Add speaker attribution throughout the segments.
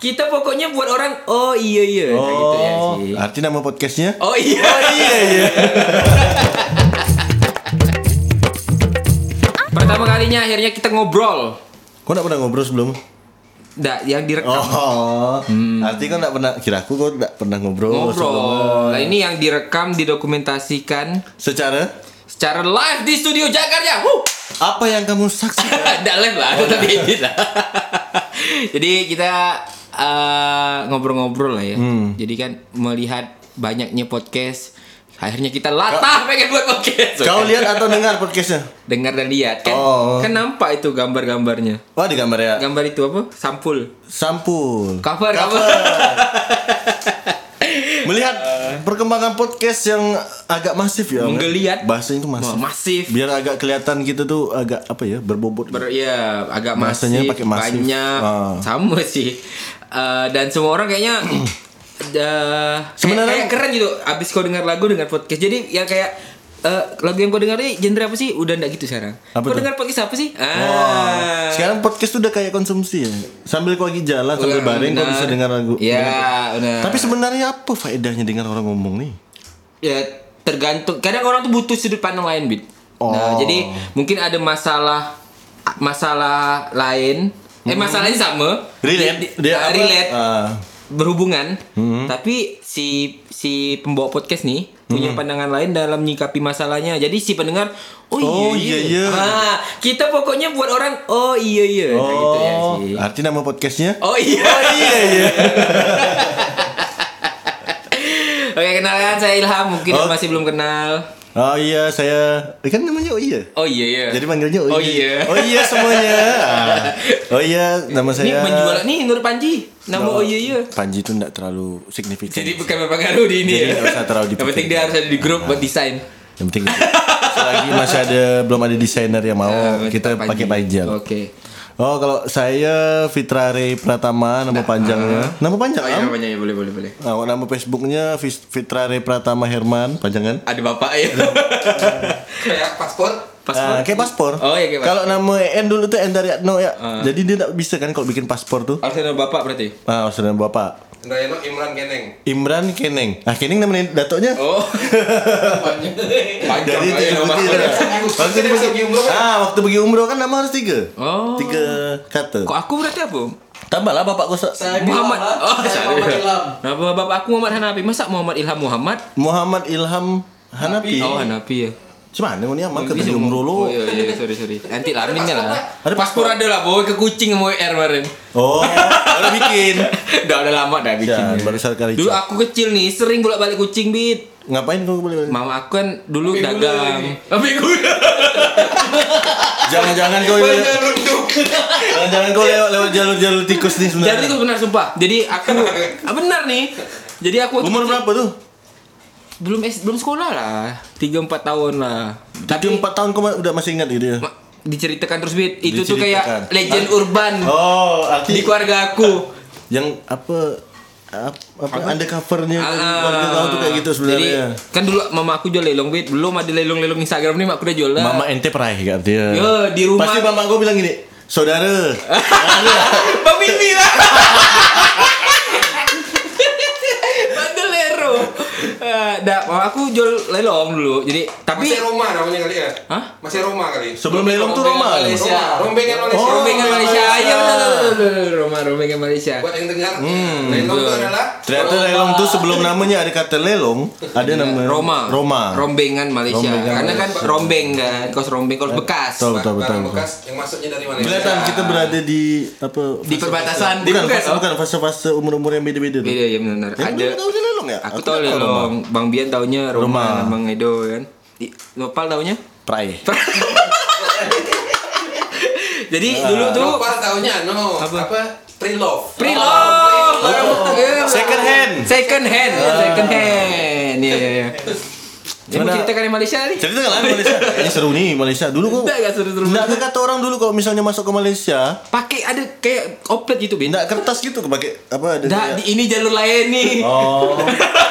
Speaker 1: Kita pokoknya buat orang oh iya iya Nah, gitu ya
Speaker 2: Oh,
Speaker 1: sih.
Speaker 2: arti nama podcastnya?
Speaker 1: Oh iya iya iya. Pertama kalinya akhirnya kita ngobrol.
Speaker 2: Kau nggak pernah ngobrol sebelum?
Speaker 1: Nggak, yang direkam.
Speaker 2: Oh, arti kau nggak pernah. Kira aku kau nggak pernah ngobrol. sebelumnya.
Speaker 1: ngobrol. Nah, ini yang direkam didokumentasikan
Speaker 2: Secara
Speaker 1: secara live di studio Jakarta. Wuh.
Speaker 2: apa yang kamu saksikan?
Speaker 1: Nggak live lah,
Speaker 2: Oh,
Speaker 1: tetap
Speaker 2: iya.
Speaker 1: edit lah. Jadi kita eh, ngobrol-ngobrol lah ya.
Speaker 2: Hmm.
Speaker 1: Jadi kan melihat banyaknya podcast, akhirnya kita latah pengen buat podcast.
Speaker 2: kau lihat atau dengar podcastnya?
Speaker 1: dengar dan lihat kan,
Speaker 2: Oh.
Speaker 1: kan nampak itu gambar-gambarnya.
Speaker 2: Wah di gambar ya.
Speaker 1: Gambar itu apa? Sampul.
Speaker 2: Sampul.
Speaker 1: Cover, cover.
Speaker 2: Melihat perkembangan podcast yang agak masif ya. Om, ya?
Speaker 1: Menggeliat.
Speaker 2: Bahasanya itu masif.
Speaker 1: Wah, masif.
Speaker 2: Biar agak kelihatan kita tuh agak apa ya berbobot.
Speaker 1: Ber- ya agak
Speaker 2: Bahasanya
Speaker 1: masif,
Speaker 2: pakai masif.
Speaker 1: banyak
Speaker 2: Ah.
Speaker 1: sama sih Eh, dan semua orang kayaknya eh,
Speaker 2: Sebenarnya-
Speaker 1: kayak, kayak keren gitu abis kau dengar lagu dengan podcast jadi yang kayak eh, lagu yang kau dengar ini genre apa sih udah ndak gitu sekarang
Speaker 2: Apa
Speaker 1: kau
Speaker 2: tuh?
Speaker 1: dengar podcast apa sih
Speaker 2: Wah,
Speaker 1: ah
Speaker 2: Sekarang podcast tuh udah kayak konsumsi ya. Sambil kau lagi jalan
Speaker 1: Ulang,
Speaker 2: sambil bareng kau
Speaker 1: benar.
Speaker 2: bisa dengar lagu.
Speaker 1: ya benar.
Speaker 2: Tapi sebenarnya apa faedahnya dengar orang ngomong nih?
Speaker 1: ya tergantung kadang orang tuh butuh sudut pandang lain bit nah
Speaker 2: Oh.
Speaker 1: jadi mungkin ada masalah masalah lain eh masalahnya sama Di- di-
Speaker 2: Hmm. dia
Speaker 1: ah,
Speaker 2: apa?
Speaker 1: relate
Speaker 2: Ah. Hmm.
Speaker 1: berhubungan tapi si si pembawa podcast nih punya
Speaker 2: Hmm.
Speaker 1: pandangan lain dalam menyikapi masalahnya jadi si pendengar oh,
Speaker 2: Oh,
Speaker 1: iya
Speaker 2: iya, iya.
Speaker 1: Ah, kita pokoknya buat orang oh iya iya Nah, gitu ya
Speaker 2: oh,
Speaker 1: sih
Speaker 2: arti nama podcastnya?
Speaker 1: oh iya
Speaker 2: iya iya.
Speaker 1: oke kenalan saya Ilham mungkin yang
Speaker 2: Oh.
Speaker 1: masih belum kenal
Speaker 2: Oh iya, saya eh, kan namanya oh iya.
Speaker 1: oh iya iya
Speaker 2: Jadi manggilnya oh iya.
Speaker 1: Oh, iya.
Speaker 2: Oh iya semuanya. Ah. Oh iya,
Speaker 1: ini
Speaker 2: nama saya.
Speaker 1: penjual nih Nur Panji nama oh
Speaker 2: Nama
Speaker 1: iya iya
Speaker 2: Panji itu enggak terlalu signifikan.
Speaker 1: jadi bukan berpengaruh di ini
Speaker 2: Jadi
Speaker 1: ya
Speaker 2: nggak usah terlalu Ah.
Speaker 1: yang penting
Speaker 2: dipikirin.
Speaker 1: dia harus ada di grup buat desain
Speaker 2: yang penting itu. selagi masih ada belum ada desainer yang mau
Speaker 1: Nah,
Speaker 2: Ah, kita pakai Panji.
Speaker 1: oke
Speaker 2: Oh, kalau saya Fitra Ray Pratama nama panjangnya. Nama panjang?
Speaker 1: Nah, oh iya
Speaker 2: Am?
Speaker 1: namanya ya, boleh boleh boleh
Speaker 2: Nah, nama Facebooknya Fis- Fitra Ray Pratama Herman, panjangan.
Speaker 1: ada bapak ya kayak paspor
Speaker 2: Ah, kayak paspor.
Speaker 1: Oh, iya, kayak paspor. Ah.
Speaker 2: Kalau nama EN dulu tuh Endar Yatno ya. Jadi dia tak bisa kan kalau bikin paspor tuh.
Speaker 1: harus ada bapak berarti
Speaker 2: Ah, harus nama bapak.
Speaker 3: Rayano Imran Keneng.
Speaker 2: Imran Keneng. Ah, Keneng namanya datoknya.
Speaker 1: oh iya,
Speaker 3: Panjang
Speaker 2: Jadi
Speaker 3: aja
Speaker 2: tiga
Speaker 3: nama.
Speaker 2: tiga. Waktu dia pergi
Speaker 3: pergi
Speaker 2: umroh. Ah, waktu pergi umroh kan nama harus tiga.
Speaker 1: Oh.
Speaker 2: Tiga kata.
Speaker 1: kok aku berarti apa
Speaker 2: Tambahlah bapak kau Sa-
Speaker 1: Muhammad oh sorry
Speaker 3: Muhammad Ilham.
Speaker 1: nama bapak aku Muhammad Hanafi masa Muhammad Ilham Muhammad
Speaker 2: Muhammad Ilham Hanafi.
Speaker 1: oh Hanafi ya
Speaker 2: Cuman ini amat
Speaker 1: Bisa
Speaker 2: ketemu umroh lo.
Speaker 1: Oh, iya, iya, sorry, sorry. Nanti laminnya lah.
Speaker 2: Ada paspor.
Speaker 1: paspor ada lah, bawa ke kucing sama WR kemarin.
Speaker 2: Oh, baru bikin.
Speaker 1: Udah, udah lama dah
Speaker 2: Dan
Speaker 1: bikinnya.
Speaker 2: baru sekali.
Speaker 1: Dulu aku kecil nih, sering bolak balik kucing, Bit.
Speaker 2: Ngapain kau boleh?
Speaker 1: Mama aku kan dulu
Speaker 3: Minggu
Speaker 1: dagang.
Speaker 3: lagi.
Speaker 1: Minggu
Speaker 2: Jangan-jangan kau jangan-jangan kau lewat lewat jalur-jalur tikus
Speaker 1: Jadi
Speaker 2: nih sebenarnya.
Speaker 1: itu benar sumpah. Jadi aku ah, benar nih. Jadi aku waktu
Speaker 2: Umur
Speaker 1: kecil-
Speaker 2: berapa tuh?
Speaker 1: belum es- belum sekolah lah. 3 4 tahun lah.
Speaker 2: Tapi empat tahun kau ma- udah masih ingat gitu ya?
Speaker 1: Ma- diceritakan terus Bit. Itu tuh
Speaker 2: Diceritakan.
Speaker 1: kayak legend
Speaker 2: Ah.
Speaker 1: urban
Speaker 2: Oh,
Speaker 1: di
Speaker 2: arti
Speaker 1: keluarga aku.
Speaker 2: yang apa ap- apa undercovernya
Speaker 1: Ah,
Speaker 2: dari keluarga kau tuh kayak gitu sebenarnya.
Speaker 1: Jadi kan dulu mama aku jual lelong Bit. Belum ada lelong-lelong Instagram nih mak aku udah jual lah.
Speaker 2: Mama ente peraih kan dia.
Speaker 1: Yo, di rumah.
Speaker 2: Pasti mama gua bilang gini, "Saudara,
Speaker 1: Bang Mimi lah. Bandelero. Eh, Dah, mama aku jual lelong dulu. Jadi tapi
Speaker 3: Masih Roma namanya kali ya?
Speaker 1: Hah?
Speaker 3: Masih Roma kali.
Speaker 2: sebelum lelong tuh
Speaker 1: Rombongan
Speaker 2: Roma."
Speaker 1: Malaysia.
Speaker 3: Roma, Rombengan Malaysia.
Speaker 2: Oh,
Speaker 1: Rombongan Malaysia. Iya benar, benar, benar, benar. Roma Rombongan Malaysia.
Speaker 3: Buat yang dengar,
Speaker 2: Hmm,
Speaker 3: Rayano itu
Speaker 1: betul.
Speaker 3: adalah
Speaker 2: Ternyata lelong tuh sebelum namanya ada kata lelong, ada nama
Speaker 1: Iya, Roma.
Speaker 2: Roma.
Speaker 1: Rombengan Malaysia.
Speaker 2: Rombengan
Speaker 1: Karena kan
Speaker 2: Malaysia.
Speaker 1: rombeng kan, kaos rombeng, kaos bekas.
Speaker 2: Betul, betul, betul.
Speaker 3: barang
Speaker 2: betul.
Speaker 3: bekas yang masuknya dari Malaysia.
Speaker 2: Kelihatan gitu. kita berada di apa?
Speaker 1: Di perbatasan, di
Speaker 2: bukan,
Speaker 1: bukan,
Speaker 2: fase,
Speaker 1: oh.
Speaker 2: bukan fase-fase umur-umur yang beda-beda. tuh.
Speaker 1: Beda ya benar.
Speaker 2: Yang
Speaker 1: Ada
Speaker 2: belum tahu dia lelong ya?
Speaker 1: Aku
Speaker 2: Aku
Speaker 1: tahu
Speaker 2: tak tahu
Speaker 1: lelong. Bang Bian taunya Roma,
Speaker 2: Roma.
Speaker 1: Bang Edo kan. I- Nopal taunya?
Speaker 2: Prai.
Speaker 1: Jadi dulu tuh
Speaker 3: Lupa tahunnya, no.
Speaker 1: Apa?
Speaker 3: Apa? Pre-love.
Speaker 1: Pre-love. Eh,
Speaker 3: Pre-love.
Speaker 2: Second hand.
Speaker 1: Second hand, second hand. Iya, iya, iya. Jadi mau
Speaker 2: Ah. Gimana?
Speaker 1: ceritakan yang Malaysia nih.
Speaker 2: Cerita nggak lah Malaysia? Ini seru nih Malaysia. Dulu kok.
Speaker 1: Enggak, enggak seru-seru.
Speaker 2: Nggak ada kata orang dulu kalau misalnya masuk ke Malaysia,
Speaker 1: Pakai ada kayak oplet gitu, Bin.
Speaker 2: nggak kertas gitu pakai apa ada
Speaker 1: Nggak,
Speaker 2: kayak-
Speaker 1: di ini jalur lain nih.
Speaker 2: Oh.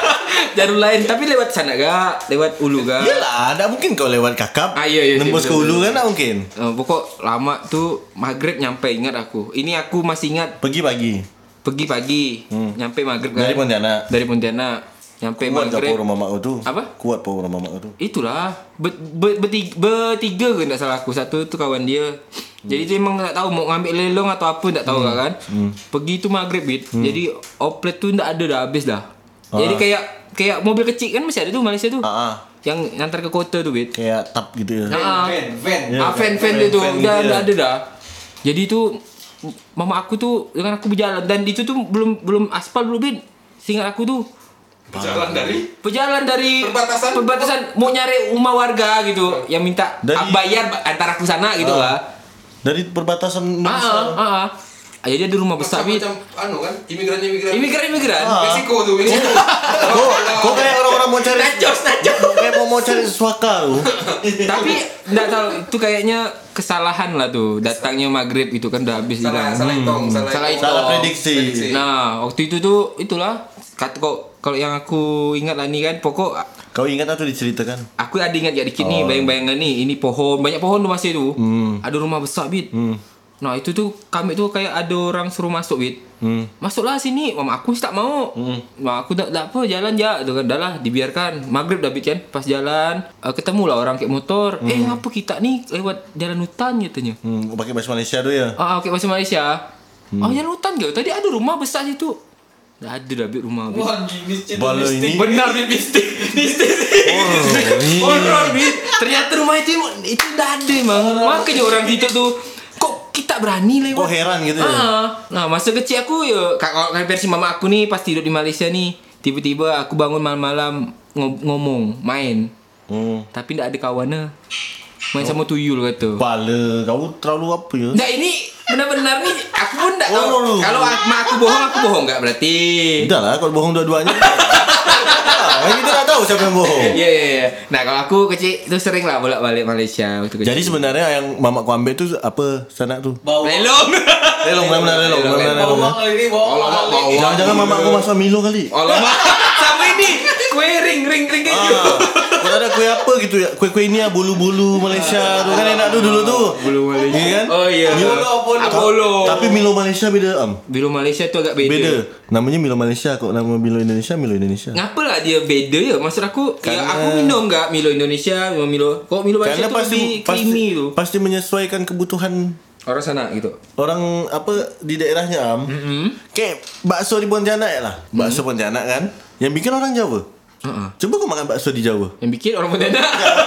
Speaker 1: jalur lain, tapi lewat sana gak? Lewat ulu gak?
Speaker 2: Iyalah, nggak mungkin kau lewat kakap.
Speaker 1: Ah, iya, iya,
Speaker 2: Nembus
Speaker 1: sih,
Speaker 2: ke
Speaker 1: betul,
Speaker 2: ulu kan nggak mungkin.
Speaker 1: Eh, pokok lama tuh maghrib nyampe ingat aku. Ini aku masih ingat
Speaker 2: Pergi pagi.
Speaker 1: pergi pagi, nyampe maghrib kan.
Speaker 2: Hmm. Dari Pontianak.
Speaker 1: Dari Pontianak, nyampe
Speaker 2: Kuat gak
Speaker 1: maghrib.
Speaker 2: power mama tuh?
Speaker 1: Apa?
Speaker 2: Kuat power mama tuh.
Speaker 1: Itulah be- be- beti- bertiga ke nggak salah aku satu tu kawan dia. Jadi tu memang tak tahu mau ngambil lelong atau apa tak tahu lah kan. Pergi tu maghrib bit. Jadi oplet tu tak ada dah habis dah. Jadi kayak kayak mobil kecil kan masih ada tu Malaysia tu.
Speaker 2: Ah, ah.
Speaker 1: Yang antar ke kota tu bit.
Speaker 2: Kayak tap gitu ya.
Speaker 1: Ah,
Speaker 3: Van, van.
Speaker 1: ah, fan-fan dia tu Dah
Speaker 2: Fan-fan gitu
Speaker 1: dah
Speaker 2: ya.
Speaker 1: ada dah Jadi tu Mama aku tu Dengan aku berjalan Dan itu tu belum Belum aspal belum bin Seingat aku tu
Speaker 3: Jalan dari
Speaker 1: Berjalan dari
Speaker 3: Perbatasan.
Speaker 1: Perbatasan Mau nyari rumah warga gitu Yang minta
Speaker 2: Dari-
Speaker 1: ah, Bayar antara aku sana gitu
Speaker 2: Ah.
Speaker 1: lah
Speaker 2: Dari perbatasan
Speaker 1: Ah,
Speaker 2: Malaysia.
Speaker 1: ah, ah, ah. Ah, Jadi ada rumah besar bin
Speaker 3: macam anu kan, imigran-imigran.
Speaker 2: Ah.
Speaker 1: Imigran-imigran
Speaker 3: Meksiko tuh.
Speaker 2: Kok kok kayak orang-orang mau cari
Speaker 1: Nachos Nachos
Speaker 2: kayak mau mau cari suaka lu.
Speaker 1: Tapi Nggak tahu Itu kayaknya Kesalahan lah tuh Datangnya maghrib itu kan Udah habis hilang.
Speaker 3: Salah, salah hitung,
Speaker 1: Salah hitung.
Speaker 3: salah hitung.
Speaker 2: Hmm. Salah prediksi.
Speaker 3: Prediksi.
Speaker 1: Nah, waktu itu tuh itulah kata kok kalau yang aku ingat lah nih kan pokok
Speaker 2: Kau ingat atau diceritakan?
Speaker 1: aku ada ingat ya dikit nih bayang-bayangan nih ini pohon banyak pohon tuh masih itu ada rumah besar bit nah itu tuh kami tuh kayak ada orang suruh masuk bit masuklah sini mama aku sih tak mau mama aku tak, tak apa jalan ja tu kan dah lah dibiarkan maghrib dah bit kan pas jalan eh, ketemulah orang kayak motor eh apa kita nih lewat jalan hutan katanya
Speaker 2: Hmm, pakai bahasa Malaysia dulu ya.
Speaker 1: Ah, okey masuk Malaysia. Oh, jalan hutan ke? Tadi ada rumah besar situ. Dah ada dah bit rumah bit.
Speaker 3: Wah, mistik.
Speaker 2: Bala ini.
Speaker 1: Benar bit mistik. Mistik. Horror bit. Ternyata rumah itu itu dah ada Iya. mang. Makanya orang situ tu kok kita berani lewat.
Speaker 2: Kok heran gitu ya?
Speaker 1: Ah. Nah, masa kecil aku ya kalau kalau versi mama aku ni pas tidur di Malaysia ni, tiba-tiba aku bangun malam-malam ngo- ngomong, main.
Speaker 2: Hmm.
Speaker 1: Tapi tak ada kawannya. Main sama tuyul kata.
Speaker 2: Bala, kau terlalu apa ya?
Speaker 1: Nah ini benar-benar nih aku pun enggak tahu.
Speaker 2: Oh.
Speaker 1: Kalau mak aku bohong aku bohong enggak berarti.
Speaker 2: Udah lah, kalau bohong dua-duanya. Ah, kita nggak tahu siapa yang bohong.
Speaker 1: Iya iya iya. Nah, kalau aku kecil itu sering lah bolak-balik Malaysia waktu kecil.
Speaker 2: Jadi sebenarnya yang mamaku ambil itu apa sana tuh?
Speaker 4: Bau.
Speaker 1: lelong.
Speaker 2: Lelong, benar-benar lelong, benar-benar
Speaker 4: Bau
Speaker 2: lelong. ya.
Speaker 4: banget ini, bau.
Speaker 3: Kalau nggak
Speaker 4: banget.
Speaker 3: bawa.
Speaker 2: Jangan-jangan mamaku masak Milo kali.
Speaker 1: Alamak. Sama ini kue ring ring ring keju.
Speaker 2: Ah, kalau ada kue apa gitu ya? Kue-kue ini ya bulu-bulu Malaysia tuh kan enak tuh dulu tuh. Bulu Malaysia. Iya kan?
Speaker 1: Oh iya.
Speaker 2: Milo,
Speaker 1: Apollo.
Speaker 2: Tapi Milo Malaysia beda am.
Speaker 1: Milo Malaysia itu agak beda.
Speaker 2: Beda. Namanya Milo Malaysia kok nama Milo Indonesia Milo Indonesia.
Speaker 1: Ngapa lah dia beda ya? Maksud aku, ya
Speaker 2: Karena-
Speaker 1: aku minum enggak Milo Indonesia, Milo Milo. Kok Milo Malaysia itu
Speaker 2: Karena
Speaker 1: lebih
Speaker 2: pasti
Speaker 1: creamy
Speaker 2: pasti,
Speaker 1: tuh.
Speaker 2: pasti menyesuaikan kebutuhan
Speaker 1: Orang sana gitu.
Speaker 2: orang apa di daerahnya am.
Speaker 1: Hmm.
Speaker 2: Kayak bakso di Pontianak ya lah. Bakso Pontianak kan yang bikin orang Jawa.
Speaker 1: Heeh.
Speaker 2: Coba kau makan bakso di Jawa.
Speaker 1: Yang bikin orang Pontianak.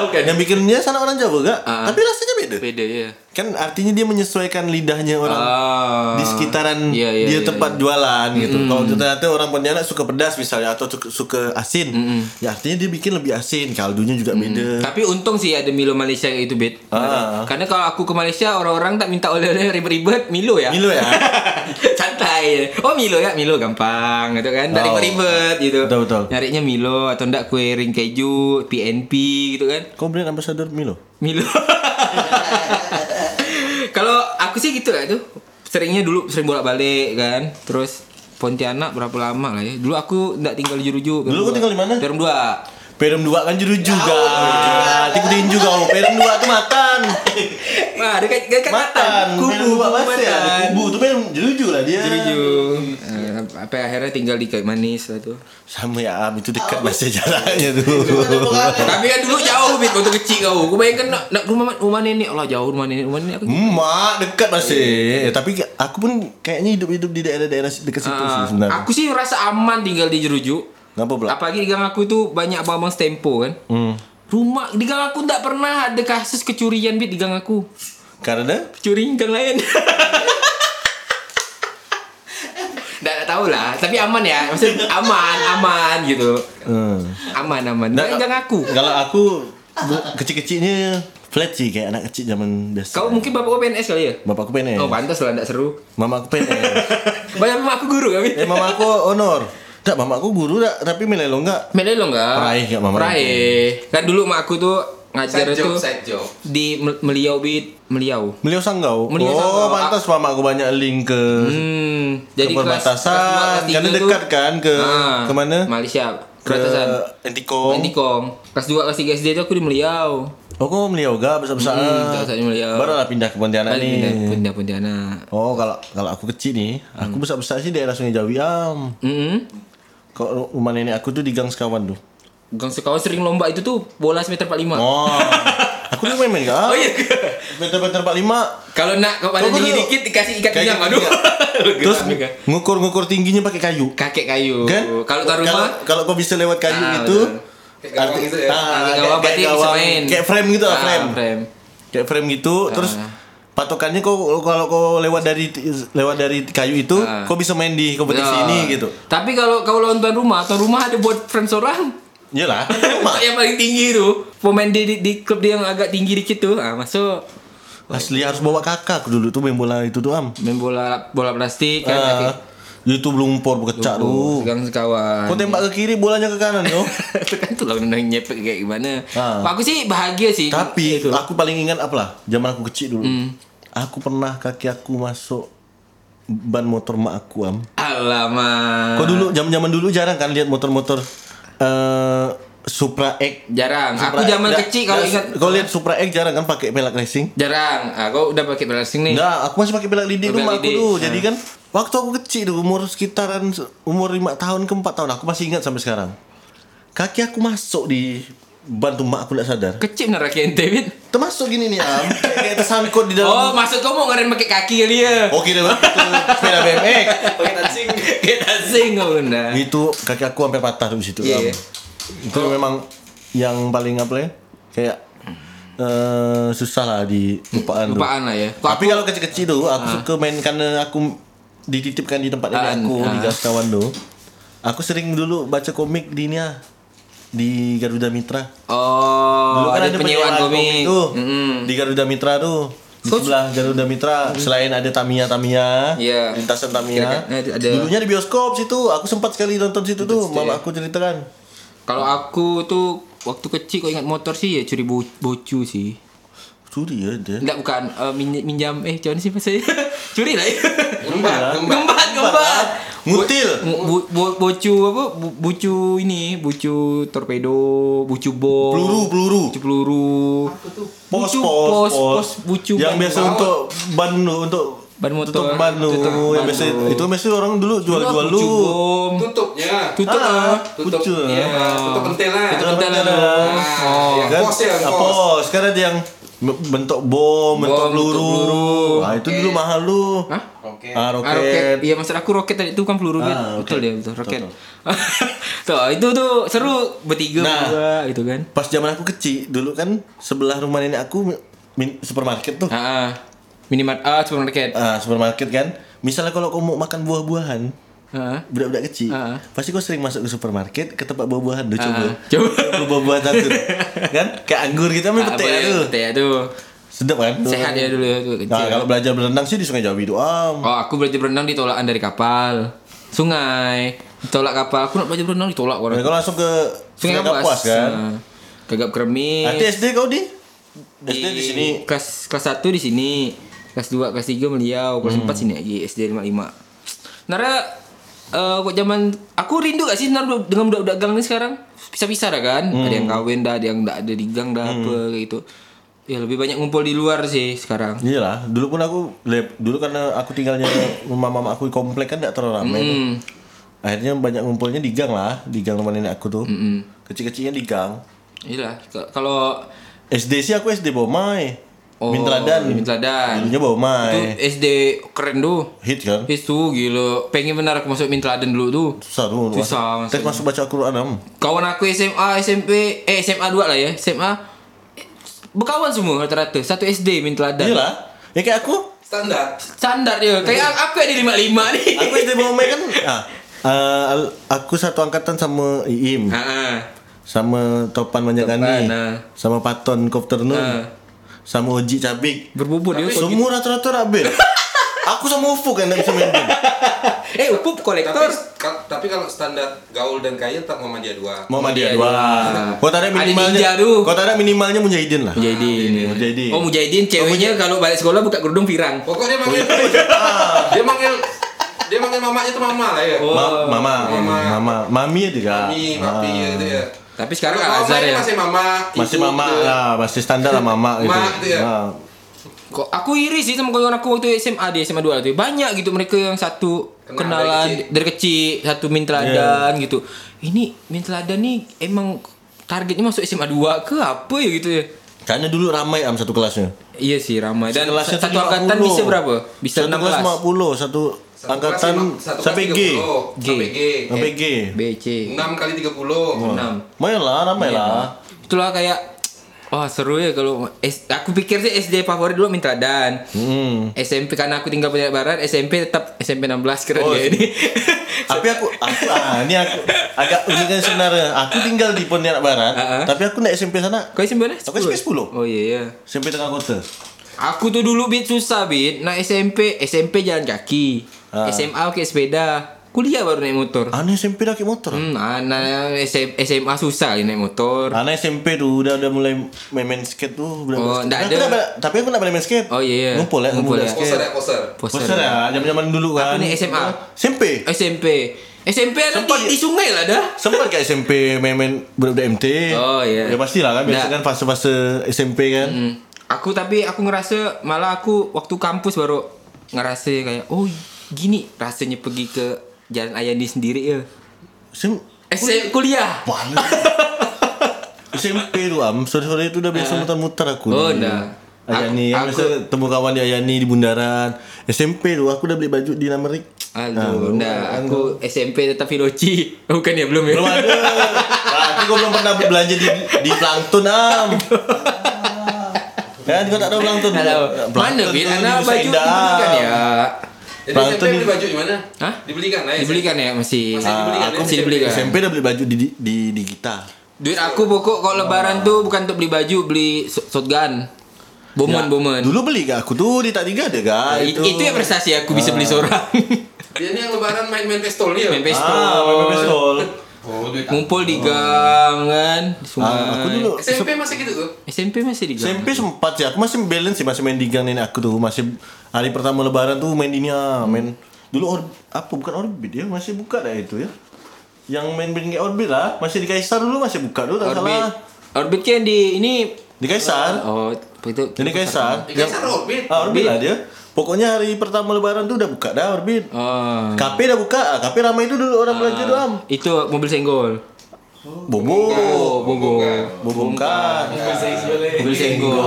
Speaker 1: Bukan.
Speaker 2: Yang bikinnya sana orang Jawa gak?
Speaker 1: Ah.
Speaker 2: Tapi rasanya beda.
Speaker 1: Beda ya.
Speaker 2: Kan artinya dia menyesuaikan lidahnya orang
Speaker 1: Ah. Ya,
Speaker 2: di sekitaran
Speaker 1: Iya, iya,
Speaker 2: dia
Speaker 1: iya, Hmm.
Speaker 2: tempat jualan gitu. Kalau ternyata orang Pontianak suka pedas misalnya atau suka, suka asin,
Speaker 1: Hmm.
Speaker 2: ya artinya dia bikin lebih asin, kaldunya juga beda.
Speaker 1: Tapi untung sih ada Milo Malaysia itu bet.
Speaker 2: Ah.
Speaker 1: Karena kalau aku ke Malaysia orang-orang tak minta oleh-oleh ribet-ribet Milo ya.
Speaker 2: Milo ya?
Speaker 1: Santai. Oh Milo ya, Milo gampang gitu kan. Tak
Speaker 2: Oh.
Speaker 1: ribet-ribet gitu.
Speaker 2: Betul, betul.
Speaker 1: Nyarinya Milo atau enggak kue ring keju, PNP gitu kan.
Speaker 2: Kau brand ambassador Milo?
Speaker 1: Milo. kalau aku sih gitu lah itu. Seringnya dulu sering bolak-balik kan. Terus Pontianak berapa lama lah ya? Dulu aku enggak tinggal di Jeruju.
Speaker 2: Dulu kau tinggal di mana?
Speaker 1: Perum 2.
Speaker 2: Perem 2 kan judul
Speaker 1: Ya
Speaker 2: juga. Ikutin juga kau. Perem 2 tuh matan.
Speaker 1: Wah, dekat dekat
Speaker 2: Matan.
Speaker 1: Kubu,
Speaker 2: Perem 2 pasti ada
Speaker 1: Matan.
Speaker 2: kubu. Itu Perem judul lah dia.
Speaker 1: Jeruju. Eh, apa akhirnya tinggal di Kayu Manis lah tuh.
Speaker 2: Sama ya Am, itu dekat masih jaraknya tuh.
Speaker 1: Tapi kan dulu jauh bit waktu kecil kau. Kau bayangkan nak, nak rumah rumah nenek Allah jauh rumah nenek rumah nenek aku.
Speaker 2: Mak dekat masih. Eh, tapi aku pun kayaknya hidup-hidup di daerah-daerah dekat situ sih
Speaker 1: Ah,
Speaker 2: sebenarnya.
Speaker 1: aku sih rasa aman tinggal di Jeruju.
Speaker 2: Kenapa pula? Hmm.
Speaker 1: Apalagi di gang aku itu banyak abang-abang stempo kan. Rumah di gang aku tak pernah ada kasus kecurian bit di gang aku.
Speaker 2: Karena
Speaker 1: Curi gang lain. Nggak nggak tahu lah, tapi aman ya. Maksud aman, aman gitu.
Speaker 2: hmm.
Speaker 1: Aman aman. Jangan jangan aku.
Speaker 2: Kalau aku bu- kecil-kecilnya flat sih kayak anak kecil zaman biasa.
Speaker 1: Kau mungkin bapak kau PNS kali ya?
Speaker 2: Bapakku PNS.
Speaker 1: Oh pantas lah nggak seru.
Speaker 2: mama aku PNS.
Speaker 1: Bayar mama aku guru kami.
Speaker 2: eh mama aku honor. Tak, mama aku guru tak, tapi melelo enggak.
Speaker 1: Mele lo nggak?
Speaker 2: Peraih nggak mama?
Speaker 1: Peraih. Kan dulu mak aku tuh ngajar
Speaker 3: Side
Speaker 1: itu
Speaker 3: job, side job.
Speaker 1: di Mel- Meliau bit Meliau.
Speaker 2: Beliau sanggau.
Speaker 1: Beliau
Speaker 2: oh,
Speaker 1: sanggau. Ah.
Speaker 2: pantas mama aku banyak link ke
Speaker 1: Hmm, jadi
Speaker 2: ke perbatasan. Karena dekat kan ke ke mana?
Speaker 1: Malaysia.
Speaker 2: Ke
Speaker 1: Perbatasan. Oh,
Speaker 2: Entikong.
Speaker 1: Nanti kong. Kelas 2 kelas 3 SD tuh aku di Meliau.
Speaker 2: Oh, kok melioga besar-besar.
Speaker 1: Hmm, besar-besar Melioga.
Speaker 2: Baru lah pindah ke Pontianak nih.
Speaker 1: Pindah pindah anak.
Speaker 2: Oh, kalau kalau aku kecil nih,
Speaker 1: Hmm.
Speaker 2: aku besar-besar sih daerah Sungai Jawi am.
Speaker 1: Mm
Speaker 2: Kok rumah nenek aku tuh di Gang Sekawan tuh.
Speaker 1: Gang sekawan sering lomba itu tuh bola semeter 45 lima.
Speaker 2: Oh. aku dulu main-main
Speaker 1: Oh
Speaker 2: kan.
Speaker 1: iya.
Speaker 2: Meter-meter 45
Speaker 1: Kalau nak kau pada
Speaker 2: Tunggu
Speaker 1: tinggi
Speaker 2: dulu.
Speaker 1: dikit dikasih ikat
Speaker 2: Kayak
Speaker 1: pinggang.
Speaker 2: gitu
Speaker 1: Aduh.
Speaker 2: juga. Terus ngukur-ngukur tingginya pakai kayu.
Speaker 1: kakek kayu.
Speaker 2: Kan?
Speaker 1: Kalau taruh rumah
Speaker 2: kalau kau bisa lewat kayu
Speaker 1: Ah,
Speaker 2: gitu.
Speaker 1: betul.
Speaker 3: Kayak gawang
Speaker 2: arti-
Speaker 3: gitu ya.
Speaker 2: ah,
Speaker 1: Kayak
Speaker 2: kayak-
Speaker 1: gawang, berarti
Speaker 2: kayak
Speaker 1: bisa
Speaker 2: gawang.
Speaker 1: main.
Speaker 2: Kayak frame gitu lah,
Speaker 1: Ah,
Speaker 2: frame.
Speaker 1: frame. Ah.
Speaker 2: Kayak frame gitu, terus patokannya kau kalau kau lewat dari lewat dari kayu itu,
Speaker 1: Ah.
Speaker 2: kau bisa main di kompetisi
Speaker 1: Ya.
Speaker 2: ini gitu.
Speaker 1: Tapi kalau kau lawan tuan rumah, tuan rumah ada buat frame seorang.
Speaker 2: Iyalah, rumah.
Speaker 1: yang paling tinggi tuh pemain di, di, di klub dia yang agak tinggi dikit tuh ah, masuk
Speaker 2: Asli harus bawa kakak aku dulu tuh main bola itu tuh am.
Speaker 1: main bola bola plastik kan
Speaker 2: Ah, itu lumpur berkecak
Speaker 1: Tuh,
Speaker 2: tuh.
Speaker 1: pegang sekawan.
Speaker 2: Kau tembak ke kiri bolanya ke kanan tuh.
Speaker 1: kan tuh lawan yang nyepet kayak gimana.
Speaker 2: Ah.
Speaker 1: Pak, Aku sih bahagia sih.
Speaker 2: Tapi
Speaker 1: itu. Hmm.
Speaker 2: aku paling ingat apa lah? Zaman aku kecil dulu. Aku pernah kaki aku masuk ban motor mak aku am.
Speaker 1: Alamak.
Speaker 2: Kok dulu zaman-zaman dulu jarang kan lihat motor-motor eh Supra X.
Speaker 1: Jarang.
Speaker 2: Supra
Speaker 1: aku
Speaker 2: X.
Speaker 1: zaman
Speaker 2: Nggak,
Speaker 1: kecil kalau ingat.
Speaker 2: nggak, Kau lihat Supra X jarang kan pakai pelak racing?
Speaker 1: Jarang. Aku udah pakai bracing nih.
Speaker 2: Enggak, aku masih pakai pelak lidik
Speaker 1: Pelak
Speaker 2: rumah aku
Speaker 1: lidik.
Speaker 2: tuh.
Speaker 1: Nah.
Speaker 2: Jadi kan waktu aku kecil tuh umur sekitaran se- umur 5 tahun ke 4 tahun aku masih ingat sampai sekarang. Kaki aku masuk di ban tuh mak aku tidak sadar.
Speaker 1: Kecil bener kaki ente, Win.
Speaker 2: Termasuk gini nih am, kayak kayak tersangkut di dalam
Speaker 1: Oh, maksud kamu mau ngerin pakai kaki kali ya?
Speaker 2: Oke deh, Bang. Itu sepeda BMX.
Speaker 3: Pakai touching.
Speaker 1: Kita sing kau bunda.
Speaker 2: Itu kaki aku sampai patah di situ.
Speaker 1: Iya.
Speaker 2: Am. Itu memang yang paling apa ya? Kayak eh, susah lah di lupaan. tuh.
Speaker 1: Lupaan lah ya. Kok
Speaker 2: Tapi kalau kecil-kecil tuh aku suka main karena aku dititipkan di tempat
Speaker 1: Ah,
Speaker 2: ini aku di
Speaker 1: ah.
Speaker 2: gas kawan tuh. Aku sering dulu baca komik di ini ah, di Garuda Mitra.
Speaker 1: Oh,
Speaker 2: Dulu kan
Speaker 1: ada, penyewaan komik.
Speaker 2: tuh
Speaker 1: Mm-mm.
Speaker 2: di Garuda Mitra tuh. Di
Speaker 1: Kau-
Speaker 2: sebelah Garuda Mitra selain ada Tamiya Tamiya,
Speaker 1: Iya.
Speaker 2: lintasan
Speaker 1: Kira-kira,
Speaker 2: Tamiya.
Speaker 1: eh, ada-
Speaker 2: Dulunya di bioskop situ, aku sempat sekali nonton situ tuh. Mama aku ceritakan.
Speaker 1: Kalau aku tuh waktu kecil kau ingat motor sih ya curi bo- bocu sih.
Speaker 2: Suri ya dia.
Speaker 1: Enggak bukan eh, min- minjam eh cuman sih bahasa curi lah ya.
Speaker 3: Gembar, gembar.
Speaker 1: Gembat, gembat.
Speaker 2: Ngutil.
Speaker 1: Bu- bu- bu- bocu apa? Bu- bucu ini, bucu torpedo, bucu bom.
Speaker 2: Peluru, peluru.
Speaker 1: Bucu peluru.
Speaker 2: Pos,
Speaker 1: Bucu
Speaker 2: pos, pos,
Speaker 1: pos, bucu
Speaker 2: Yang
Speaker 1: ban-
Speaker 2: biasa untuk ban lu, untuk
Speaker 1: Ban motor.
Speaker 2: tutup ban lu.
Speaker 1: Tutup ban
Speaker 2: Yang biasa
Speaker 1: lu.
Speaker 2: itu biasa orang dulu jual-jual lu.
Speaker 1: Bucu bom.
Speaker 3: Tutupnya.
Speaker 1: Tutup
Speaker 2: Ah,
Speaker 1: ah.
Speaker 3: Tutup.
Speaker 2: bucu.
Speaker 3: Iya, tutup pentil lah.
Speaker 1: Tutup
Speaker 2: Tutup
Speaker 1: lah.
Speaker 2: lah.
Speaker 1: Oh.
Speaker 3: Iya.
Speaker 2: Kan?
Speaker 3: Pos ya,
Speaker 2: Ah,
Speaker 3: pos.
Speaker 2: pos. Sekarang ada yang bentuk bom, bentuk
Speaker 1: bentuk
Speaker 2: peluru.
Speaker 1: peluru.
Speaker 2: Nah, itu dulu mahal lu.
Speaker 1: Hah?
Speaker 3: Oke.
Speaker 1: Ah,
Speaker 2: Ah,
Speaker 1: roket.
Speaker 2: roket.
Speaker 1: Iya maksud aku roket tadi itu kan peluru kan.
Speaker 2: Ah,
Speaker 1: Betul
Speaker 2: oke.
Speaker 1: dia betul roket.
Speaker 2: Betul,
Speaker 1: tuh itu tuh seru bertiga
Speaker 2: Nah.
Speaker 1: berdua gitu kan.
Speaker 2: Pas zaman aku kecil, dulu kan sebelah rumah nenek aku min- supermarket tuh.
Speaker 1: Ah, ah. minimart ah supermarket.
Speaker 2: Ah, supermarket kan. Misalnya kalau kamu mau makan buah-buahan,
Speaker 1: Ah.
Speaker 2: budak-budak kecil,
Speaker 1: Ah.
Speaker 2: pasti kau sering masuk ke supermarket ke tempat buah-buahan tuh coba.
Speaker 1: Coba.
Speaker 2: Coba buah-buahan satu. kan? Kayak anggur kita main
Speaker 1: Ah,
Speaker 2: petik
Speaker 1: boleh,
Speaker 2: tuh.
Speaker 1: Petek tuh.
Speaker 2: Sedap kan?
Speaker 1: Sehat ya dulu ya tuh kecil.
Speaker 2: Nah, kalau belajar berenang sih di Sungai Jawi itu. Am.
Speaker 1: Oh, aku belajar berenang ditolakan dari kapal. Sungai. Ditolak kapal. Aku nak belajar berenang ditolak
Speaker 2: Nah,
Speaker 1: orang.
Speaker 2: kalau langsung ke Sungai Kapuas kan. Nah,
Speaker 1: Ah. Kagak Kermis.
Speaker 2: Nanti SD kau di? SD di sini.
Speaker 1: kelas kelas 1 di sini kelas 2 kelas 3 Meliau
Speaker 2: Hmm.
Speaker 1: kelas 4 sini lagi SD 55 Nara eh kok zaman aku rindu gak sih Nara dengan budak-budak gang ini sekarang pisah-pisah dah kan
Speaker 2: Hmm.
Speaker 1: ada yang kawin dah ada yang gak ada di gang dah apa kayak gitu ya lebih banyak ngumpul di luar sih sekarang
Speaker 2: Iyalah, dulu pun aku lep- dulu karena aku tinggalnya rumah mama aku di komplek kan tidak terlalu ramai. tuh. Akhirnya banyak ngumpulnya di gang lah, di gang rumah nenek aku tuh. Kecil-kecilnya di gang.
Speaker 1: iyalah k- kalau
Speaker 2: SD sih aku SD Bomai.
Speaker 1: Oh,
Speaker 2: Bintradan.
Speaker 1: Bintradan. itu
Speaker 2: Dulunya Bomai.
Speaker 1: SD keren tuh
Speaker 2: Hit kan?
Speaker 1: itu gila pengen benar aku masuk Mintladen dulu tuh
Speaker 2: Susah tuh.
Speaker 1: Susah,
Speaker 2: masuk- Tes masuk baca Al-Quran am.
Speaker 1: kawan aku SMA, SMP, eh SMA 2 lah ya, SMA eh, berkawan semua rata-rata. Satu SD main teladan.
Speaker 2: Iyalah. Ya kayak aku.
Speaker 3: Standar.
Speaker 1: Standar dia. Kayak aku yang di 55 nih.
Speaker 2: Aku SD Bomai kan. Ah, ah, al- aku satu angkatan sama Iim.
Speaker 1: Heeh.
Speaker 2: Sama
Speaker 1: Topan,
Speaker 2: Topan Manjakani.
Speaker 1: ah.
Speaker 2: Sama Paton Kopternun.
Speaker 1: Ah.
Speaker 2: Sama Oji Cabik.
Speaker 1: Berbobot dia. kok gitu.
Speaker 2: Semua rata-rata rabel. aku sama Ufu kan tidak bisa main game.
Speaker 1: Eh, Upup
Speaker 3: Tapi,
Speaker 1: kolektor.
Speaker 3: ka- tapi kalau standar gaul dan kaya tetap Muhammadiyah dua.
Speaker 2: Muhammadiyah
Speaker 1: dua.
Speaker 2: dua. Kota ada
Speaker 1: Ada
Speaker 2: minimalnya.
Speaker 1: ninja tu.
Speaker 2: Kota ada minimalnya Mujahidin lah.
Speaker 3: Ah,
Speaker 1: Mujahidin.
Speaker 2: Mujahidin.
Speaker 1: Oh, Mujahidin ceweknya kalau balik sekolah buka kerudung pirang.
Speaker 3: Pokoknya manggil
Speaker 2: Oh, iya.
Speaker 3: dia manggil dia
Speaker 2: Oh.
Speaker 3: manggil mamanya tuh mama lah ya.
Speaker 2: Ma- mama,
Speaker 3: Mama.
Speaker 2: mama, mami juga.
Speaker 3: Mami, papi
Speaker 2: Ah.
Speaker 3: gitu ya.
Speaker 1: Tapi sekarang
Speaker 3: Kalau
Speaker 1: Al
Speaker 3: mama
Speaker 1: Azhar
Speaker 3: ini
Speaker 1: ya.
Speaker 3: masih mama.
Speaker 2: Masih
Speaker 3: ibu,
Speaker 2: mama
Speaker 3: gitu ya.
Speaker 2: lah, masih standar lah mama gitu.
Speaker 3: Mak, iya.
Speaker 2: Nah,
Speaker 1: Kok aku iri sih sama kawan aku waktu SMA di SMA 2 tuh. Banyak gitu mereka yang satu
Speaker 3: Kenal
Speaker 1: kenalan
Speaker 3: dari
Speaker 1: dari kecil, satu min teladan gitu. Ini min teladan nih emang targetnya masuk SMA 2 ke apa ya gitu ya.
Speaker 2: Karena dulu ramai am satu kelasnya.
Speaker 1: Iya sih ramai dan
Speaker 2: Kelasnya
Speaker 1: satu angkatan
Speaker 2: 50.
Speaker 1: bisa berapa? Bisa
Speaker 2: satu
Speaker 1: 16.
Speaker 2: kelas 50, satu,
Speaker 3: Satu
Speaker 2: angkatan
Speaker 3: kelas lima- satu kelas
Speaker 2: sampai G.
Speaker 3: 30.
Speaker 1: G.
Speaker 3: Sampai G.
Speaker 1: eh.
Speaker 2: Sampai G.
Speaker 1: BC.
Speaker 3: 6 kali 30.
Speaker 1: 6.
Speaker 2: Main lah, ramai Iya lah.
Speaker 1: Iya. Itulah kayak Wah seru ya kalau S- aku pikir sih SD favorit dulu Mintradan.
Speaker 2: Hmm.
Speaker 1: SMP karena aku tinggal Perak Barat, SMP tetap SMP 16 keren
Speaker 2: Oh,
Speaker 1: ya ini.
Speaker 2: tapi aku aku ah, ini aku agak unik kan sebenarnya. Aku tinggal di Pontianak Barat,
Speaker 1: Ah, ah.
Speaker 2: tapi aku naik SMP sana.
Speaker 1: Kau SMP mana?
Speaker 2: Aku SMP 10.
Speaker 1: Oh iya iya.
Speaker 2: SMP tengah kota.
Speaker 1: Aku tuh dulu bit susah bit. Nah SMP SMP jalan kaki.
Speaker 2: Ah.
Speaker 1: SMA pakai sepeda. Kuliah baru naik motor.
Speaker 2: Aneh SMP dah pakai motor.
Speaker 1: Hmm, nah, nah, SM- SMA susah kali naik motor.
Speaker 2: Anak SMP tuh udah udah mulai main, main skate tuh. Udah
Speaker 1: Oh,
Speaker 2: mulai skate.
Speaker 1: ndak
Speaker 2: Aku
Speaker 1: ada.
Speaker 2: bela- tapi aku nak bela main skate.
Speaker 1: Oh, iya, iya.
Speaker 2: Ngumpul ya,
Speaker 1: Ngumpul
Speaker 2: ngumpul ya.
Speaker 1: ya.
Speaker 3: Poser
Speaker 2: skate.
Speaker 3: ya, poser.
Speaker 2: Poster ya, zaman-zaman dulu
Speaker 1: Aku
Speaker 2: kan.
Speaker 1: nih SMA.
Speaker 2: SMP.
Speaker 1: SMP. SMP ada
Speaker 2: Sempat
Speaker 1: di,
Speaker 2: ya?
Speaker 1: di sungai lah dah.
Speaker 2: Sempat ke SMP main-main budak-budak MT.
Speaker 1: Oh, iya.
Speaker 2: Ya pastilah kan
Speaker 1: Ndak.
Speaker 2: biasa kan fase-fase SMP kan.
Speaker 1: Hmm. Aku tapi aku ngerasa malah aku waktu kampus baru ngerasa kayak oh gini rasanya pergi ke jalan Ayandi sendiri ya.
Speaker 2: Sem-
Speaker 1: SMP kuliah.
Speaker 2: Balik. SMP tu am Sore-sore tu dah biasa mutar-mutar aku
Speaker 1: Oh,
Speaker 2: ni.
Speaker 1: dah.
Speaker 2: Ayani
Speaker 1: Aku-
Speaker 2: aku, Biasa temu kawan di Ayani di bundaran SMP tu aku dah beli baju di Namerik
Speaker 1: Aduh, nah, aku SMP tetap Filoci. Oh, Bukan ya belum ya.
Speaker 2: Belum ada Berarti kau belum pernah belanja di di Plankton am Kan kau tak tahu Plankton
Speaker 1: Tak tahu. Mana
Speaker 2: Plankton
Speaker 1: Bil?
Speaker 2: tu
Speaker 1: Anak
Speaker 2: di Nusa
Speaker 1: baju
Speaker 2: Indah.
Speaker 1: dibelikan ya.
Speaker 3: Jadi
Speaker 2: Bang,
Speaker 3: SMP
Speaker 2: tuh
Speaker 3: beli
Speaker 2: di-
Speaker 3: baju di mana?
Speaker 1: Hah?
Speaker 3: Dibelikan lah ya.
Speaker 1: Dibelikan ya masih.
Speaker 3: Masih dibelikan,
Speaker 1: Ah, aku
Speaker 3: ya?
Speaker 1: masih dibelikan.
Speaker 2: SMP dah beli baju di di, di, di gitar
Speaker 1: Duit aku pokok kalau lebaran tuh bukan untuk beli baju, beli so- shotgun. Bomen, bomen.
Speaker 2: Dulu beli ke aku tu Di tak tiga ada kan
Speaker 1: itu. itu ya prestasi aku bisa
Speaker 2: Ah.
Speaker 1: beli seorang.
Speaker 3: Dia ini yang lebaran main-main pistol nih ya.
Speaker 1: Main pistol.
Speaker 2: Ah, memang pistol.
Speaker 3: Oh, duit.
Speaker 1: Ngumpul di gang kan. Di sungai.
Speaker 2: Ah, aku dulu
Speaker 3: SMP masih gitu tuh.
Speaker 1: SMP masih di gang.
Speaker 2: SMP sempat sih, aku masih balance sih, masih main di gang nenek aku tuh, masih hari pertama lebaran tuh main ini ya, main dulu or, apa bukan orbit ya, masih buka dah itu ya. Yang main main kayak orbit lah, masih di Kaisar dulu masih buka dulu tak
Speaker 1: Orbit.
Speaker 2: salah.
Speaker 1: Orbit kan di ini
Speaker 2: Di Kaisar.
Speaker 1: Oh, itu.
Speaker 2: Ini Kaisar.
Speaker 3: Di
Speaker 2: Yang-
Speaker 3: Kaisar Orbit.
Speaker 2: Ah,
Speaker 1: Orbit.
Speaker 2: orbit lah dia. Pokoknya hari pertama lebaran tuh udah buka dah orbit.
Speaker 1: Oh.
Speaker 2: Kafe udah buka, ah, kafe ramai itu dulu orang belanja doang.
Speaker 1: Itu mobil senggol. Oh,
Speaker 2: Bobo,
Speaker 1: bobo.
Speaker 2: bobo bukan.
Speaker 1: Mobil senggol.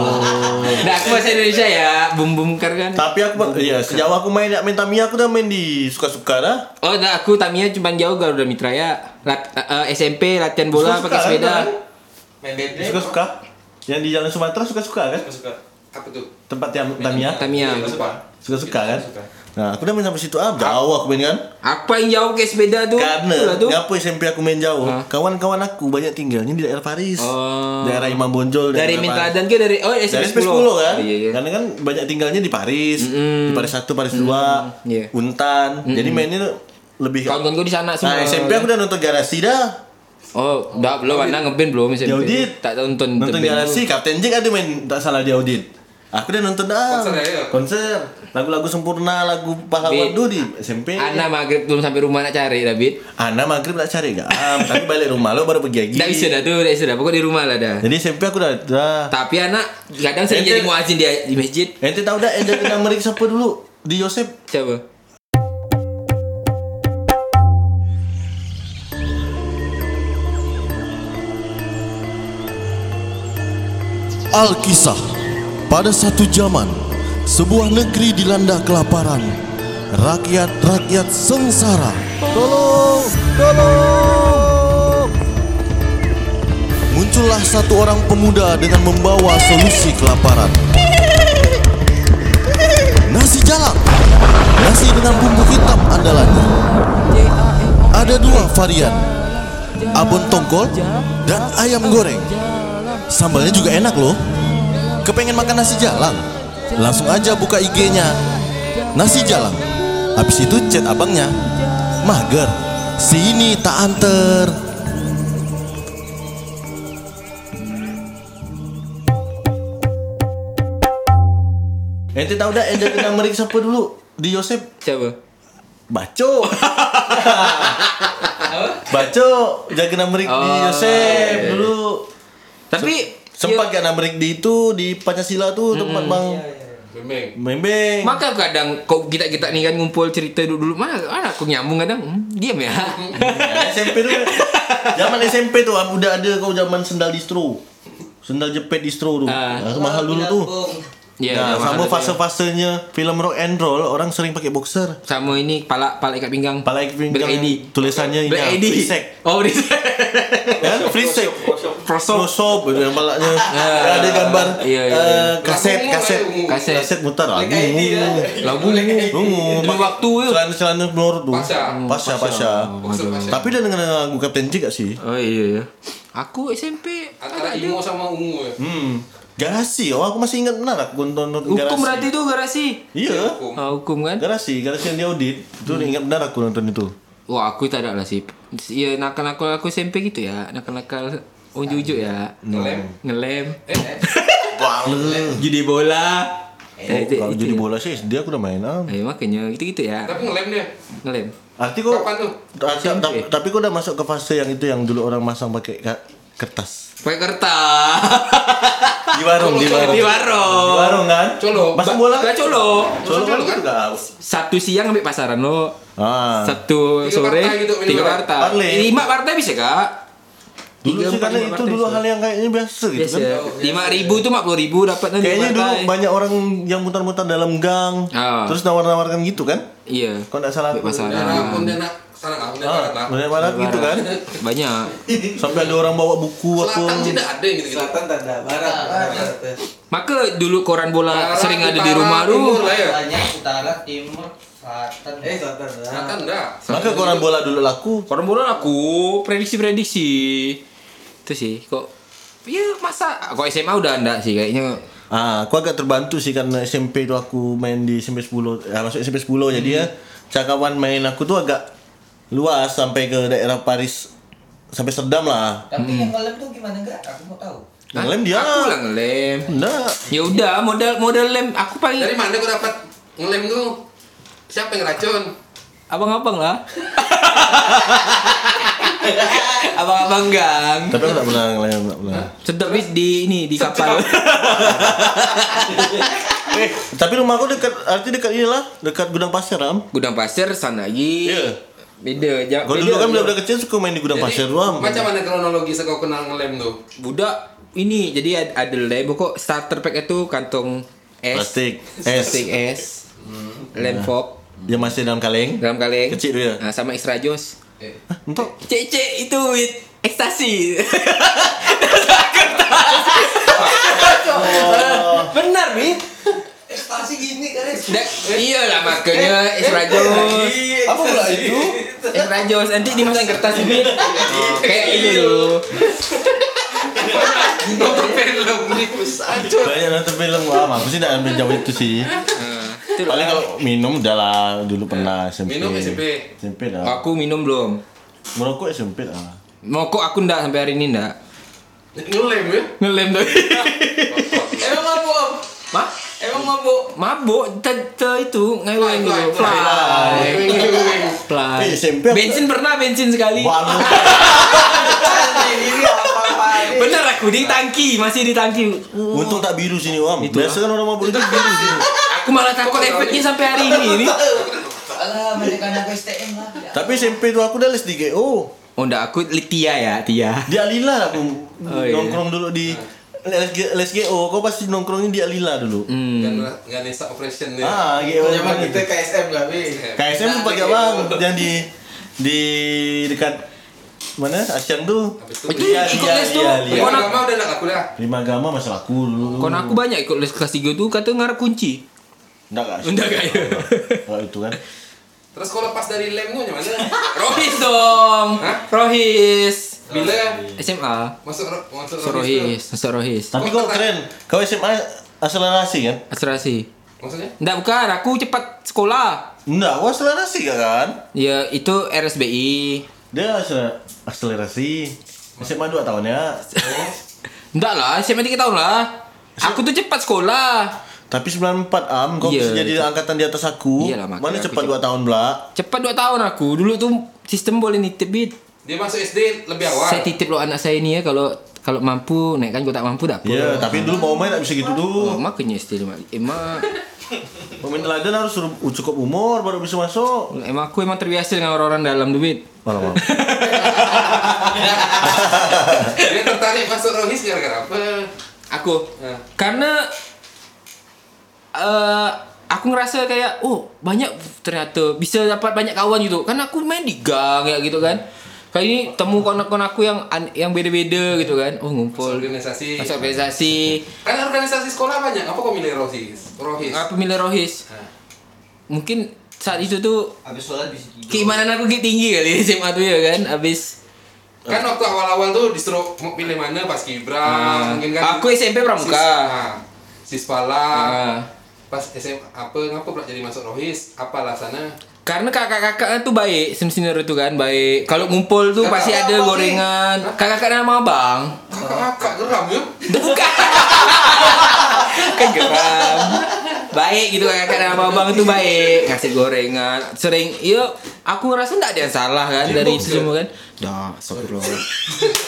Speaker 1: Nah, aku bahasa Indonesia ya. Bum bum kar kan.
Speaker 2: Tapi aku ya sejauh aku main main Tamiya aku udah main di suka-suka dah.
Speaker 1: Oh, nah aku Tamiya cuma jauh Garuda Mitra ya. Lat- eh, eh, SMP latihan bola
Speaker 2: Suka-suka
Speaker 1: pakai
Speaker 2: kan,
Speaker 1: sepeda. Iya.
Speaker 2: kan?
Speaker 3: Main Beyblade.
Speaker 2: Suka-suka. Yang di Jalan Sumatera suka-suka kan?
Speaker 3: Suka. Apa tuh? Iya,
Speaker 2: Tempat yang
Speaker 1: Iya,
Speaker 2: Tamiya.
Speaker 1: Tamiya.
Speaker 3: Suka.
Speaker 2: Suka-suka
Speaker 1: Iya,
Speaker 2: kan? Nah, aku udah main sampai situ ah, jauh aku main kan?
Speaker 1: Apa yang jauh ke sepeda tuh? Itulah
Speaker 2: Karena
Speaker 1: Oh, tuh.
Speaker 2: ngapa SMP aku main jauh? Kawan-kawan aku banyak tinggalnya di daerah Paris.
Speaker 1: Oh.
Speaker 2: Daerah Imam Bonjol
Speaker 1: dari
Speaker 2: daerah Paris.
Speaker 1: Mintradan ke dari oh
Speaker 2: Dari
Speaker 1: SMP
Speaker 2: SMP
Speaker 1: 10.
Speaker 2: 10 kan?
Speaker 1: Iya, iya.
Speaker 2: Karena kan banyak tinggalnya di Paris. Di Paris 1, Paris 2,
Speaker 1: Iya.
Speaker 2: Untan. Jadi mainnya tuh lebih
Speaker 1: Kawan-kawan gue di sana semua.
Speaker 2: Nah, SMP aku udah nonton garasi dah.
Speaker 1: Oh, udah belum anak ngeband belum SMP.
Speaker 2: Di audit.
Speaker 1: Tak tahu nonton
Speaker 2: Nonton
Speaker 1: ngeband
Speaker 2: Galaxy, Captain Jack ada main tak salah di audit. Aku udah nonton dah.
Speaker 3: Konser ya?
Speaker 2: Konser. Lagu-lagu sempurna, lagu pahlawan
Speaker 1: Bi-
Speaker 2: dulu di SMP.
Speaker 1: dulu. Anak maghrib belum sampai rumah nak cari David.
Speaker 2: Ana maghrib tak cari gak? Am, tapi balik rumah lo baru pergi lagi.
Speaker 1: Tak bisa dah tuh, tak bisa dah. Pokok di rumah lah dah.
Speaker 2: Jadi SMP aku dah. dah.
Speaker 1: Tapi anak kadang sering
Speaker 2: Ente-
Speaker 1: jadi muazin di, di masjid.
Speaker 2: Ente tahu dah Ente kena merik siapa dulu? Di Yosep.
Speaker 1: Siapa?
Speaker 4: Alkisah Pada satu zaman Sebuah negeri dilanda kelaparan Rakyat-rakyat sengsara Tolong! Tolong! Muncullah satu orang pemuda dengan membawa solusi kelaparan Nasi jalak Nasi dengan bumbu hitam andalannya Ada dua varian Abon tongkol dan ayam goreng Sambalnya juga enak loh. Kepengen makan nasi jalan? Langsung aja buka IG-nya. Nasi jalan. Habis itu chat abangnya. Mager. Sini tak anter.
Speaker 2: Ente Eh, tahu dah Ente kena merik siapa dulu? Di Yosep.
Speaker 1: Siapa?
Speaker 2: Baco. Baco jaga namerik di
Speaker 1: Oh,
Speaker 2: Yosep dulu.
Speaker 1: Tapi
Speaker 2: Sempat gak namerik di itu di Pancasila tuh tempat Bang
Speaker 3: Bimbing.
Speaker 2: Membeng.
Speaker 1: ya, Maka kadang kok kita kita nih kan ngumpul cerita dulu dulu mana mana aku nyambung kadang hmm, diam ya.
Speaker 2: SMP tuh. Zaman SMP tuh udah ah, ada kau zaman sendal distro. Sendal jepit distro tuh.
Speaker 1: Ah.
Speaker 2: Nah, mahal dulu tuh.
Speaker 1: Iya, udah
Speaker 2: nah, sama
Speaker 1: mahal.
Speaker 2: fase-fasenya film rock and roll orang sering pakai boxer.
Speaker 1: sama ini pala pala ikat pinggang.
Speaker 2: Kepala pinggang
Speaker 1: Black ID.
Speaker 2: tulisannya ini
Speaker 1: Black
Speaker 2: ya,
Speaker 1: ID.
Speaker 2: frisek.
Speaker 1: Oh, frisek.
Speaker 2: Ya, frisek.
Speaker 1: Prosop.
Speaker 2: Prosop yang palanya. Ada gambar
Speaker 1: Ah, Iya, iya,
Speaker 2: eh,
Speaker 1: iya.
Speaker 2: kaset,
Speaker 3: Lagu
Speaker 2: kaset,
Speaker 3: ungu,
Speaker 1: kaset.
Speaker 2: kaset mutar lagi.
Speaker 3: ya.
Speaker 1: Lagu ini.
Speaker 2: Ungu.
Speaker 1: Dulu waktu ya.
Speaker 2: Celana celana blur tuh.
Speaker 3: Pasha.
Speaker 2: Pasha, pasha. Tapi udah dengan lagu Captain Jack gak sih?
Speaker 1: Oh iya ya. Aku SMP
Speaker 3: Antara
Speaker 1: agak ada.
Speaker 3: imo sama ungu ya.
Speaker 2: Hmm. Garasi, oh aku masih ingat benar aku nonton garasi.
Speaker 1: Hukum berarti itu garasi.
Speaker 2: Iya.
Speaker 3: Hukum.
Speaker 1: Oh, hukum Hmm. kan?
Speaker 2: Garasi, garasi yang diaudit. Itu ingat benar aku nonton itu.
Speaker 1: Wah aku tak ada lah sih Ya nakal-nakal aku SMP gitu ya Nakal-nakal unjuk-unjuk ya
Speaker 3: Ngelem.
Speaker 1: Ngelem
Speaker 3: Eh,
Speaker 2: Bang.
Speaker 1: Judi bola Ya, itu-
Speaker 2: Eh, Kalau
Speaker 1: itu
Speaker 2: jadi
Speaker 1: ya.
Speaker 2: bola sih, dia aku udah main. ah.
Speaker 1: Eh, makanya gitu-gitu ya
Speaker 3: tapi ngelem dia.
Speaker 1: Ngelem
Speaker 2: Arti kok
Speaker 3: Kapan tuh?
Speaker 2: Tapi,
Speaker 1: SMP.
Speaker 2: tapi, tapi kok udah masuk ke fase yang itu yang dulu orang masang pakai ka- kertas
Speaker 1: Pakai kertas
Speaker 2: di warung di warung
Speaker 1: Di warung.
Speaker 2: di warung kan
Speaker 3: Colo.
Speaker 2: masang bola kan?
Speaker 1: Gak colo
Speaker 2: colo
Speaker 3: Colo
Speaker 2: kan
Speaker 3: kan?
Speaker 1: Sabtu siang ambil pasaran lo
Speaker 2: ah
Speaker 1: Sabtu
Speaker 3: Tiga
Speaker 1: sore
Speaker 3: partai gitu,
Speaker 1: Tiga
Speaker 3: minimal.
Speaker 1: partai
Speaker 2: Parley.
Speaker 1: Lima partai bisa kak?
Speaker 2: dulu
Speaker 1: Tiga,
Speaker 2: sih
Speaker 1: empat,
Speaker 2: karena
Speaker 1: lima
Speaker 2: itu
Speaker 1: partai
Speaker 2: dulu
Speaker 1: bisa.
Speaker 2: hal yang kayaknya biasa gitu
Speaker 1: Biasa ya.
Speaker 2: kan
Speaker 1: Lima ribu tuh 40 ribu dapat nanti
Speaker 2: kayaknya dulu
Speaker 1: partai.
Speaker 2: banyak orang yang mutar-mutar dalam gang
Speaker 1: Ah.
Speaker 2: terus nawar-nawarkan gitu kan
Speaker 1: Iya
Speaker 2: kalau nggak salah
Speaker 1: Ambil
Speaker 2: aku
Speaker 1: pasaran
Speaker 3: Dan aku dan nak sana lah, dan barat lah.
Speaker 2: ah banyak banget gitu kan
Speaker 1: Banyak
Speaker 2: sampai ada orang bawa buku apa
Speaker 3: Selatan sih ada yang gitu-gitu.
Speaker 5: Selatan tak ada, barat.
Speaker 6: ya.
Speaker 5: barat.
Speaker 1: Maka dulu koran bola
Speaker 3: Barat,
Speaker 1: sering ada di
Speaker 3: utara,
Speaker 1: rumah
Speaker 3: timur
Speaker 1: lu
Speaker 3: lah ya.
Speaker 6: Banyak utara, timur, selatan.
Speaker 5: Eh, selatan dah.
Speaker 3: Selatan dah.
Speaker 2: maka koran bola dulu laku
Speaker 1: Koran bola aku prediksi-prediksi. Itu sih kok ya masa kok SMA udah enggak sih kayaknya.
Speaker 2: Ah, aku agak terbantu sih karena SMP itu aku main di SMP 10, ya, masuk SMP 10 jadi ya cakapan main aku tuh agak luas sampai ke daerah Paris sampai Serdam lah.
Speaker 6: Tapi yang ngelem tuh gimana enggak? Aku mau tahu.
Speaker 1: Hah?
Speaker 2: Ngelem dia.
Speaker 1: Aku lah ngelem.
Speaker 2: Enggak.
Speaker 1: Ya udah modal modal lem aku
Speaker 3: Dari
Speaker 1: paling
Speaker 3: mana kau dapat ngelem tuh? Siapa yang racun?
Speaker 1: abang-abang lah. Abang-abang gang.
Speaker 2: Tapi aku enggak pernah ngelem, enggak pernah.
Speaker 1: Sedap bis di ini di kapal.
Speaker 2: Eh, tapi rumah aku dekat arti dekat inilah, dekat gudang pasir, Ram.
Speaker 1: Gudang pasir sana lagi.
Speaker 2: Iya.
Speaker 1: Beda. Ja,
Speaker 2: Kalau dulu kan bila-bila kecil suka main di gudang
Speaker 3: Jadi,
Speaker 2: pasir, Ram.
Speaker 3: Macam mana kronologi kau kenal ngelem tuh?
Speaker 1: budak ini jadi ad- ada lem kok starter pack itu kantong es
Speaker 2: Plastik. Hmm. Iya. Es.
Speaker 1: plastik es lem pop
Speaker 2: Dia masih dalam kaleng.
Speaker 1: dalam kaleng
Speaker 2: Kecil dia.
Speaker 1: nah, sama extra jos
Speaker 3: Eh,
Speaker 2: Entok.
Speaker 1: cek cek itu it, ekstasi benar bi
Speaker 5: Ekstasi gini kan?
Speaker 1: iya lah makanya extra
Speaker 3: Iya,
Speaker 1: jos
Speaker 2: Iya, Apa pula itu?
Speaker 1: extra jos nanti dimasukin kertas bi kayak gitu. ini loh
Speaker 3: nonton film nih, racun.
Speaker 2: Banyak nonton film, Ram. Aku sih enggak ambil jauh itu sih.
Speaker 1: Itu
Speaker 2: Paling
Speaker 1: lah.
Speaker 2: kalau minum udah lah dulu pernah SMP.
Speaker 3: Minum SMP.
Speaker 2: SMP dah.
Speaker 1: aku minum belum
Speaker 2: Merokok ya ah. SMP dah.
Speaker 1: mau kok aku ndak sampai hari ini ndak
Speaker 3: Ngelem ya?
Speaker 1: ngelem tapi
Speaker 5: Emang mabuk?
Speaker 1: Mah?
Speaker 5: Emang mabuk?
Speaker 1: Mabuk te, te itu ngeweng
Speaker 3: Fly,
Speaker 1: dulu.
Speaker 3: fly,
Speaker 1: Fly.
Speaker 3: Ngelem.
Speaker 1: Fly.
Speaker 2: Eh, SMP aku-
Speaker 1: Bensin pernah bensin sekali.
Speaker 2: Waduh.
Speaker 5: Ini apa-apa ini?
Speaker 1: Bener aku di tangki, masih di tangki.
Speaker 2: Untung tak biru sini, Om.
Speaker 1: Itulah.
Speaker 2: Biasa kan orang mabuk itu biru sini.
Speaker 1: Aku malah takut efeknya sampai hari ini. ini.
Speaker 6: Alah, mereka anak STM lah. Ya.
Speaker 2: Tapi SMP itu aku dah les di GO.
Speaker 1: Oh enggak, aku li- Tia ya, Tia.
Speaker 2: Di Alila aku
Speaker 1: Oh, iya.
Speaker 2: nongkrong dulu di les, les GO. Kau pasti nongkrongnya di Alila dulu.
Speaker 3: Kan
Speaker 1: Hmm.
Speaker 3: nggak nesa operation ya.
Speaker 2: Ah, GO.
Speaker 5: Zaman kita KSM gak, Bi?
Speaker 6: Nah,
Speaker 2: KSM tuh pakai bang yang di di dekat mana? Asian tuh.
Speaker 3: Habis itu
Speaker 1: Itu
Speaker 2: Iya,
Speaker 1: ikut
Speaker 2: iya,
Speaker 1: les tuh.
Speaker 2: iya, iya.
Speaker 3: Iya,
Speaker 1: Kon aku,
Speaker 3: agama udah nak aku dah.
Speaker 2: Lima agama masalah aku dulu.
Speaker 1: kon aku banyak ikut les kelas 3 tuh kata ngarep kunci.
Speaker 2: Enggak enggak.
Speaker 1: Enggak kayak.
Speaker 2: Kalau itu kan.
Speaker 3: Terus kau lepas dari lem tuh gimana?
Speaker 1: Rohis dong.
Speaker 3: Hah?
Speaker 1: Rohis.
Speaker 3: Bila
Speaker 1: SMA.
Speaker 3: masuk ro- masuk
Speaker 1: Masuk
Speaker 3: rohis tuh?
Speaker 1: Rohis, masuk Rohis.
Speaker 2: Tapi kau keren. Kau SMA akselerasi kan?
Speaker 1: Asuransi.
Speaker 3: Maksudnya?
Speaker 1: Enggak bukan, aku cepat sekolah.
Speaker 2: Enggak, kau akselerasi gak kan?
Speaker 1: Ya itu RSBI.
Speaker 2: Dia akseler- akselerasi. SMA 2 tahun ya.
Speaker 1: Enggak lah, SMA 3 tahun lah. Aku tuh cepat sekolah.
Speaker 2: Tapi 94 am, kau
Speaker 1: Iya,
Speaker 2: bisa jadi
Speaker 1: itu.
Speaker 2: angkatan di atas aku.
Speaker 1: Iyalah, makanya
Speaker 2: Mana
Speaker 1: aku
Speaker 2: cepat
Speaker 1: cep-
Speaker 2: 2 tahun belak.
Speaker 1: Cepat 2 tahun aku. Dulu tuh sistem boleh nitip bit.
Speaker 3: Dia masuk SD lebih awal.
Speaker 1: Saya titip lo anak saya ini ya kalau kalau mampu naik kan kalau tak mampu dapur.
Speaker 2: Iya, tapi dulu mau main tak bisa gitu
Speaker 1: Oh,
Speaker 2: dulu.
Speaker 1: makanya istri mak. Emak,
Speaker 2: Pemain teladan harus suruh cukup umur baru bisa masuk.
Speaker 1: emak aku emang terbiasa dengan orang-orang dalam duit.
Speaker 2: Malam
Speaker 3: Dia tertarik masuk Rohis gara-gara apa?
Speaker 1: Aku
Speaker 3: Nah.
Speaker 1: karena eh aku ngerasa kayak oh banyak ternyata bisa dapat banyak kawan gitu. Karena aku main di gang ya gitu kan. Kali ini temu kawan-kawan aku yang an- yang beda-beda gitu kan. Oh ngumpul
Speaker 3: Organisasi.
Speaker 1: masuk organisasi.
Speaker 3: Kan organisasi sekolah banyak. Apa kau milih Rohis? Rohis.
Speaker 1: Aku milih Rohis.
Speaker 3: Nah.
Speaker 1: Mungkin saat itu tuh
Speaker 6: Habis sholat bisa tidur.
Speaker 1: keimanan aku gitu tinggi kali di SMA tuh ya kan abis
Speaker 3: Kan waktu awal-awal tuh disuruh mau pilih mana pas kibra, mungkin kan.
Speaker 1: Ah, aku SMP
Speaker 3: Sis-
Speaker 1: pramuka
Speaker 3: ah, Sispala.
Speaker 1: Ah.
Speaker 3: Pas SM apa ngapa pula jadi masuk Rohis? Apa alasannya?
Speaker 1: karena kakak-kakak tuh baik sem senior itu kan baik kalau ngumpul tuh
Speaker 3: Kakak
Speaker 1: pasti ada
Speaker 3: abang
Speaker 1: gorengan kakak-kakak nama abang
Speaker 3: Kakak-kakak geram ya.
Speaker 1: bukan kan geram baik gitu kakak-kakak nama abang tuh baik ngasih gorengan sering iya aku ngerasa nggak ada yang salah kan dari itu semua kan dah astagfirullah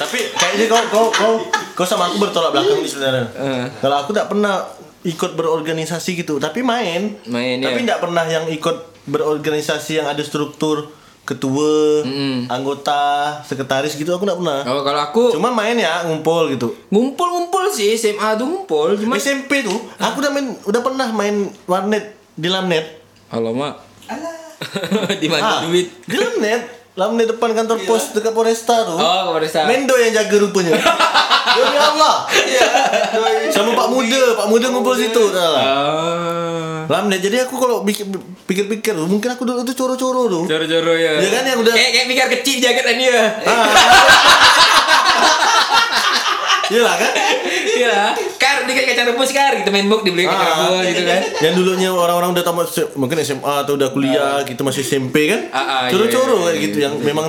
Speaker 2: Tapi Ya, kayaknya kau kau kau kau sama aku bertolak belakang nih sebenarnya.
Speaker 1: Eh.
Speaker 2: Kalau aku tak pernah ikut berorganisasi gitu, tapi main.
Speaker 1: Main,
Speaker 2: Tapi
Speaker 1: ya.
Speaker 2: tidak pernah yang ikut berorganisasi yang ada struktur ketua, anggota, sekretaris gitu aku tidak pernah.
Speaker 1: oh kalau aku
Speaker 2: Cuma main ya ngumpul gitu.
Speaker 1: ngumpul-ngumpul sih SMA tuh ngumpul cuma
Speaker 2: SMP tuh aku udah main udah pernah main warnet di Lamnet.
Speaker 1: alamak
Speaker 6: Alah.
Speaker 1: di mana
Speaker 2: Ah,
Speaker 1: duit
Speaker 2: Di Lamnet, Lamnet depan kantor pos dekat Polresta tuh.
Speaker 1: Oh, Polresta.
Speaker 2: Mendo yang jaga rupanya. Demi Allah.
Speaker 1: Ya.
Speaker 2: Sama Pak Muda, Pak Muda ngumpul situ. tau lah.
Speaker 1: Ah.
Speaker 2: Lamnet. Jadi aku kalau bik- pikir-pikir tuh, mungkin aku dulu tuh coro-coro tuh.
Speaker 1: Joro-joro ya.
Speaker 2: Iya kan, yang udah- Ah.
Speaker 1: kayak kayak pikir kecil ya. jaketan dia.
Speaker 2: Iya lah kan?
Speaker 1: Iya. Kar dikasih kacang rebus kar gitu main book dibeli kacang
Speaker 2: Ah.
Speaker 1: rebus gitu kan.
Speaker 2: Yang dulunya orang-orang udah tamat se- mungkin SMA atau udah kuliah gitu masih SMP kan?
Speaker 1: Ah, ah, iya, iya,
Speaker 2: Coro-coro kayak gitu yang
Speaker 1: ya.
Speaker 2: memang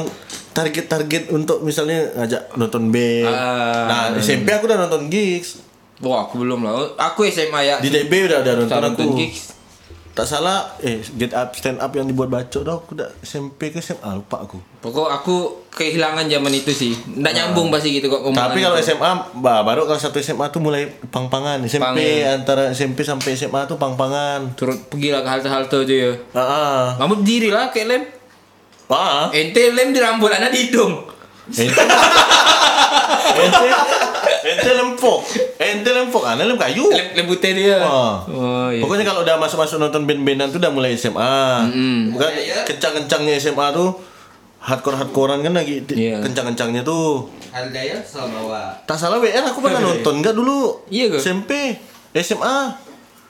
Speaker 2: target-target untuk misalnya ngajak nonton band.
Speaker 1: Ah.
Speaker 2: nah, SMP aku udah nonton gigs.
Speaker 1: Wah, aku belum lah. Aku SMA ya.
Speaker 2: Di DB udah udah nonton aku.
Speaker 1: nonton gigs.
Speaker 2: Tak salah, eh get up stand up yang dibuat bacok dah aku dah SMP ke SMA Ah, lupa aku.
Speaker 1: Pokok aku kehilangan zaman itu sih. Nggak nyambung pasti gitu kok omongan
Speaker 2: Ah. Tapi kalau
Speaker 1: itu.
Speaker 2: SMA bah, baru kalau satu SMA tuh mulai pang-pangan. SMP
Speaker 1: Pang.
Speaker 2: antara SMP sampai SMA tuh pang-pangan. Ah,
Speaker 1: turut pergi lah ke halte-halte aja ya.
Speaker 2: Heeh.
Speaker 1: Rambut diri lah kayak lem.
Speaker 2: Ah.
Speaker 1: Ente lem di rambut, anak di hidung.
Speaker 2: Ente Ente Ente lempok. Ente lempok. Ana lem kayu.
Speaker 1: Lem, lem putih dia.
Speaker 2: Ah.
Speaker 1: Oh, iya.
Speaker 2: Pokoknya kalau udah masuk-masuk nonton band-bandan tuh udah mulai SMA. Bukan kencang-kencangnya SMA tuh hardcore-hardcorean kan lagi di-
Speaker 1: Iya.
Speaker 2: kencang-kencangnya tuh.
Speaker 6: Aldaya sama bawa.
Speaker 2: Tak salah WR aku pernah nonton enggak dulu?
Speaker 1: Iya ke?
Speaker 2: SMP, SMA.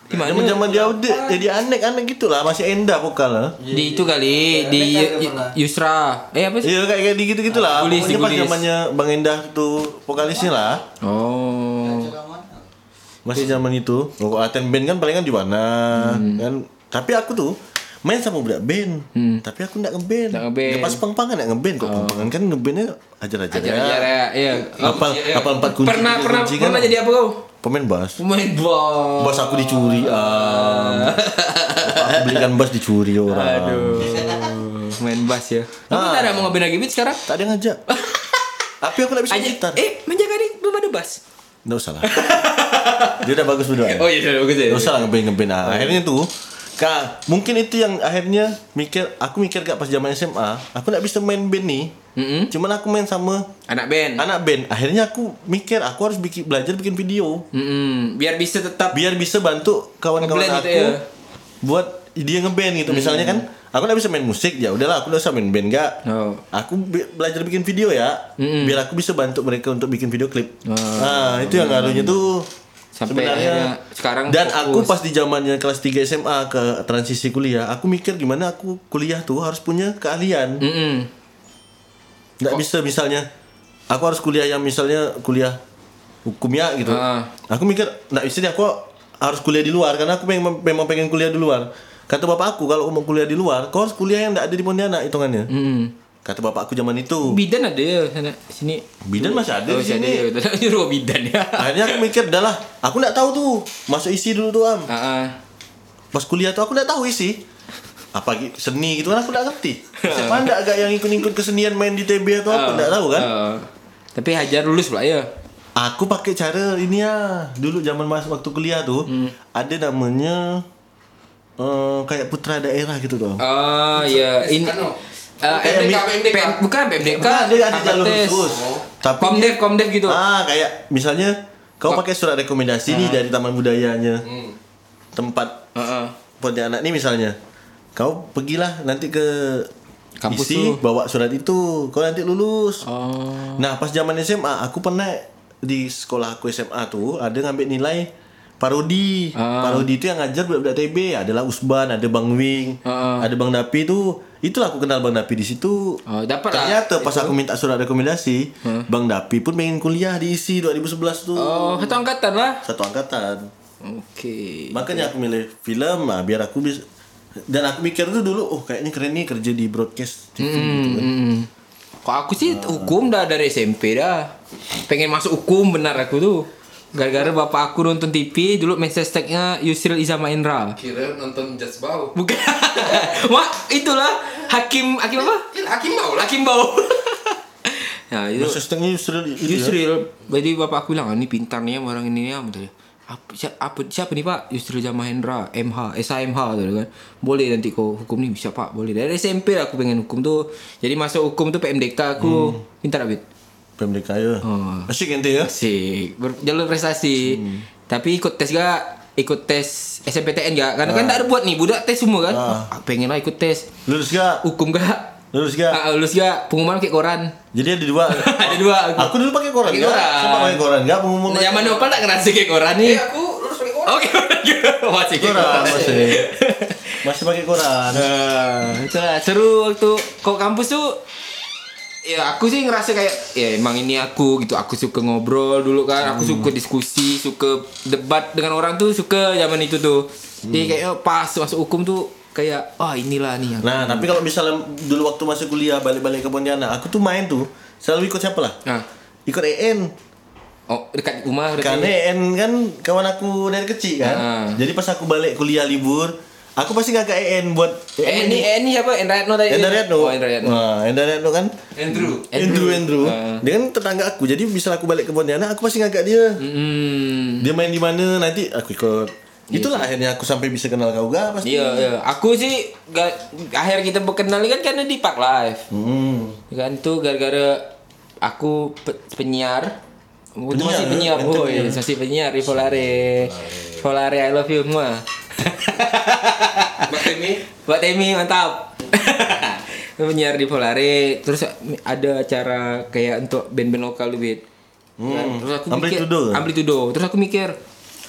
Speaker 1: Di mana?
Speaker 2: Zaman-zaman dia udah jadi anek-anek gitu lah, masih enda vokal eh. lah.
Speaker 1: di itu kali di
Speaker 6: Mereka ada
Speaker 1: Yu- Yu-
Speaker 6: pernah.
Speaker 1: Yusra eh apa sih
Speaker 2: Iya kayak kayak di gitu-gitu lah.
Speaker 1: Digulis,
Speaker 2: Pokoknya pas
Speaker 1: digulis.
Speaker 2: zamannya Bang Endah tuh vokalisnya lah.
Speaker 1: oh
Speaker 2: Masih
Speaker 1: Iya.
Speaker 2: zaman itu. Rokok Aten band kan palingan di mana?
Speaker 1: Hmm.
Speaker 2: Kan tapi aku tuh main sama budak band. Tapi aku enggak ngeband.
Speaker 1: Ndak Hmm. ngeband.
Speaker 2: Pas pang-pangan enggak ngeband kok. Pang-pangan kan ngebandnya ajar-ajar.
Speaker 1: ajar ajar ya iya
Speaker 2: Apal apal empat kunci.
Speaker 1: pernah
Speaker 2: tiga
Speaker 1: pernah
Speaker 2: kunci kan.
Speaker 1: pernah jadi apa kau
Speaker 2: pemain bass.
Speaker 1: pemain bom
Speaker 2: Bas aku dicuri am. Bapak aku belikan bas dicuri orang.
Speaker 1: aduh main bass ya kamu
Speaker 2: Ah.
Speaker 1: tak ada mau ngeband lagi Bit, sekarang
Speaker 2: Tak ada yang ngajak. Tapi aku gak bisa
Speaker 1: aja
Speaker 2: gitar.
Speaker 1: eh menjaga nih belum ada bass
Speaker 2: Nggak usah lah. Dia udah bagus berdua.
Speaker 1: oh iya udah bagus ya
Speaker 2: Nggak usah lah ngeband ngeband. Nah, akhirnya tuh Kak, mungkin itu yang akhirnya mikir aku mikir gak pas zaman SMA, aku gak bisa main band nih.
Speaker 1: Mm-mm.
Speaker 2: Cuman aku main sama
Speaker 1: anak band
Speaker 2: anak band. Akhirnya aku mikir aku harus bikin belajar bikin video
Speaker 1: Mm-mm. biar bisa tetap
Speaker 2: biar bisa bantu kawan-kawan
Speaker 1: Ngeband
Speaker 2: aku
Speaker 1: gitu Hmm. ya.
Speaker 2: buat dia ngeband gitu misalnya kan aku udah bisa main musik ya udahlah aku udah bisa main band gak
Speaker 1: Oh. Hmm.
Speaker 2: aku be- belajar bikin video ya biar aku bisa bantu mereka untuk bikin video klip nah itu yang ngaruhnya
Speaker 1: Oh.
Speaker 2: tuh
Speaker 1: Hmm. Sampai akhirnya sekarang
Speaker 2: dan
Speaker 1: fokus.
Speaker 2: aku pas di zamannya kelas 3 SMA ke transisi kuliah aku mikir gimana aku kuliah tuh harus punya keahlian
Speaker 1: Mm-mm.
Speaker 2: nggak bisa misalnya aku harus kuliah yang misalnya kuliah hukum ya gitu.
Speaker 1: Ah.
Speaker 2: Aku mikir nggak bisa deh aku harus kuliah di luar karena aku memang memang pengen kuliah di luar. Kata bapak aku kalau mau kuliah di luar, kau harus kuliah yang nggak ada di Pontianak hitungannya. Kata bapak aku zaman itu.
Speaker 1: bidan ada ya sana sini
Speaker 2: Bidan masih ada
Speaker 1: Oh,
Speaker 2: di sini.
Speaker 1: ada ya. nyuruh bidan ya
Speaker 2: Akhirnya aku mikir, dah lah, aku nggak tahu tuh masuk isi dulu tuh am.
Speaker 1: Ah, ah.
Speaker 2: Pas kuliah tuh aku nggak tahu isi. apa gi- seni gitu kan aku tak ngerti. Siapa ndak agak yang ikut-ikut kesenian main di TB atau apa
Speaker 1: Eh,
Speaker 2: ndak tahu kan?
Speaker 1: eh. tapi hajar lulus pula ya.
Speaker 2: Aku pakai cara ini ya. Dulu zaman mas waktu kuliah tuh
Speaker 1: Hmm.
Speaker 2: ada namanya eh, kayak putra daerah gitu tuh.
Speaker 1: Oh iya ini
Speaker 3: Kan, oh.
Speaker 1: eh,
Speaker 3: PMDK,
Speaker 1: MDK,
Speaker 3: PMDK.
Speaker 1: P- bukan PMDK,
Speaker 2: Bukan, dia ada
Speaker 1: angkat
Speaker 2: jalur
Speaker 1: tes.
Speaker 2: khusus. Tapi
Speaker 1: Komdev, komdev gitu.
Speaker 2: Ah, kayak misalnya kau pakai surat
Speaker 1: Ah.
Speaker 2: rekomendasi nih dari Taman Budayanya.
Speaker 1: Hmm.
Speaker 2: Tempat
Speaker 1: Heeh.
Speaker 2: Pontianak nih misalnya. Kau pergilah nanti ke
Speaker 1: Kampus
Speaker 2: isi,
Speaker 1: tu.
Speaker 2: bawa surat itu. Kau nanti lulus.
Speaker 1: Oh.
Speaker 2: Nah, pas zaman SMA aku pernah di sekolah aku SMA tuh ada ngambil nilai parodi.
Speaker 1: Ah.
Speaker 2: Parodi itu yang ngajar budak-budak TB adalah Usban, ada Bang Wing,
Speaker 1: Ah, ah.
Speaker 2: ada Bang Dapi tuh. Itulah aku kenal Bang Dapi di situ.
Speaker 1: Oh, dapat lah
Speaker 2: Ternyata pas aku minta surat rekomendasi,
Speaker 1: Ah.
Speaker 2: Bang Dapi pun pengen kuliah di ISI 2011 tuh.
Speaker 1: Oh, satu angkatan lah.
Speaker 2: Satu angkatan.
Speaker 1: Oke.
Speaker 2: Makanya aku milih film lah biar aku bisa dan aku mikir tuh dulu, oh kayaknya keren nih kerja di broadcast TV gitu kan.
Speaker 1: Hmm. Kok aku sih hukum dah dari SMP dah. Pengen masuk hukum benar aku tuh. Gara-gara bapak aku nonton TV dulu hashtagnya Yusril Iza Mahendra.
Speaker 3: Kira nonton Jazz Bau.
Speaker 1: Bukan. Wah, itulah hakim hakim apa?
Speaker 3: Ini Hakim Bau lah.
Speaker 1: Hakim bau. nah, itu
Speaker 2: Terus setengah Yusril itu ya.
Speaker 1: Yusril. Jadi bapak aku bilang, "Ah, ini pintar nih yang orang ini nih." Apa, tadi? apa, siapa, apa, siapa nih Pak? Yusril Jamahendra, MH, SAMH tuh kan. Boleh nanti kau hukum nih bisa Pak, boleh. Dari SMP lah aku pengen hukum tuh. Jadi masuk hukum tuh PMDK
Speaker 2: Hmm.
Speaker 1: aku pintar abit.
Speaker 2: PMDK ya.
Speaker 1: Oh.
Speaker 2: Asyik ente ya.
Speaker 1: Asik, Ber- jalur prestasi.
Speaker 2: Hmm.
Speaker 1: Tapi ikut tes gak? Ikut tes SMPTN gak? Karena kan tak ada buat nih, budak tes semua kan.
Speaker 2: Ah.
Speaker 1: Ah, Pengen lah ikut tes.
Speaker 2: Lulus gak?
Speaker 1: Hukum gak?
Speaker 2: Lulus gak?
Speaker 1: Ah, lulus gak? Pengumuman kayak koran.
Speaker 2: Jadi ada dua.
Speaker 1: ada dua aku.
Speaker 2: aku dulu pakai koran
Speaker 1: Pakai
Speaker 2: gak?
Speaker 1: koran.
Speaker 2: Sempat pakai koran gak pengumuman.
Speaker 1: Nah, zaman Nopal tak ngerasa kayak koran nih.
Speaker 5: Eh, aku lulus pakai koran.
Speaker 1: Oke, masih kayak
Speaker 2: Koran
Speaker 1: koran.
Speaker 2: masih. Masih pakai koran.
Speaker 1: Nah, itulah seru waktu kok kampus tuh ya aku sih ngerasa kayak ya emang ini aku gitu aku suka ngobrol dulu kan aku suka diskusi suka debat dengan orang tuh suka zaman itu tuh jadi kayaknya pas masuk hukum tuh kayak oh inilah nih aku.
Speaker 2: Nah, tapi kalau misalnya dulu waktu masih kuliah balik-balik ke Pontianak, aku tuh main tuh selalu ikut siapa lah?
Speaker 1: nah
Speaker 2: Ikut EN.
Speaker 1: oh dekat rumah dekat
Speaker 2: Karena EN kan kawan aku dari kecil kan.
Speaker 1: Ah.
Speaker 2: Jadi pas aku balik kuliah libur, aku pasti gak ke EN buat E
Speaker 1: eh ini eh, ini siapa Endra Yatno tadi
Speaker 2: Enda Retno.
Speaker 1: oh Endra Yatno
Speaker 2: Nah, Enda Retno kan
Speaker 3: Andrew.
Speaker 1: Andrew.
Speaker 2: Andrew Andrew.
Speaker 1: Ah.
Speaker 2: Dia kan tetangga aku. Jadi bisa aku balik ke Pontianak, aku pasti ngagak dia.
Speaker 1: hmm
Speaker 2: Dia main di mana nanti aku ikut. Itulah akhirnya aku sampai bisa kenal kau gak pasti.
Speaker 1: iya iya aku sih gak, akhir kita berkenal ni kan karena di Park Life
Speaker 2: Hmm.
Speaker 1: Kan tu gara-gara aku pe- penyiar. Aku
Speaker 2: Penyiar?
Speaker 1: masih penyiar
Speaker 2: Ente
Speaker 1: boy,
Speaker 2: penyiar.
Speaker 1: masih penyiar di Polare. Polare I love you semua.
Speaker 3: Mbak Temi.
Speaker 1: Buat Temi mantap. penyiar di Polare, terus ada acara kayak untuk band-band lokal duit.
Speaker 2: Hmm.
Speaker 1: Terus aku
Speaker 2: Amplitudo
Speaker 1: mikir,
Speaker 2: ke?
Speaker 1: Amplitudo. Terus aku mikir,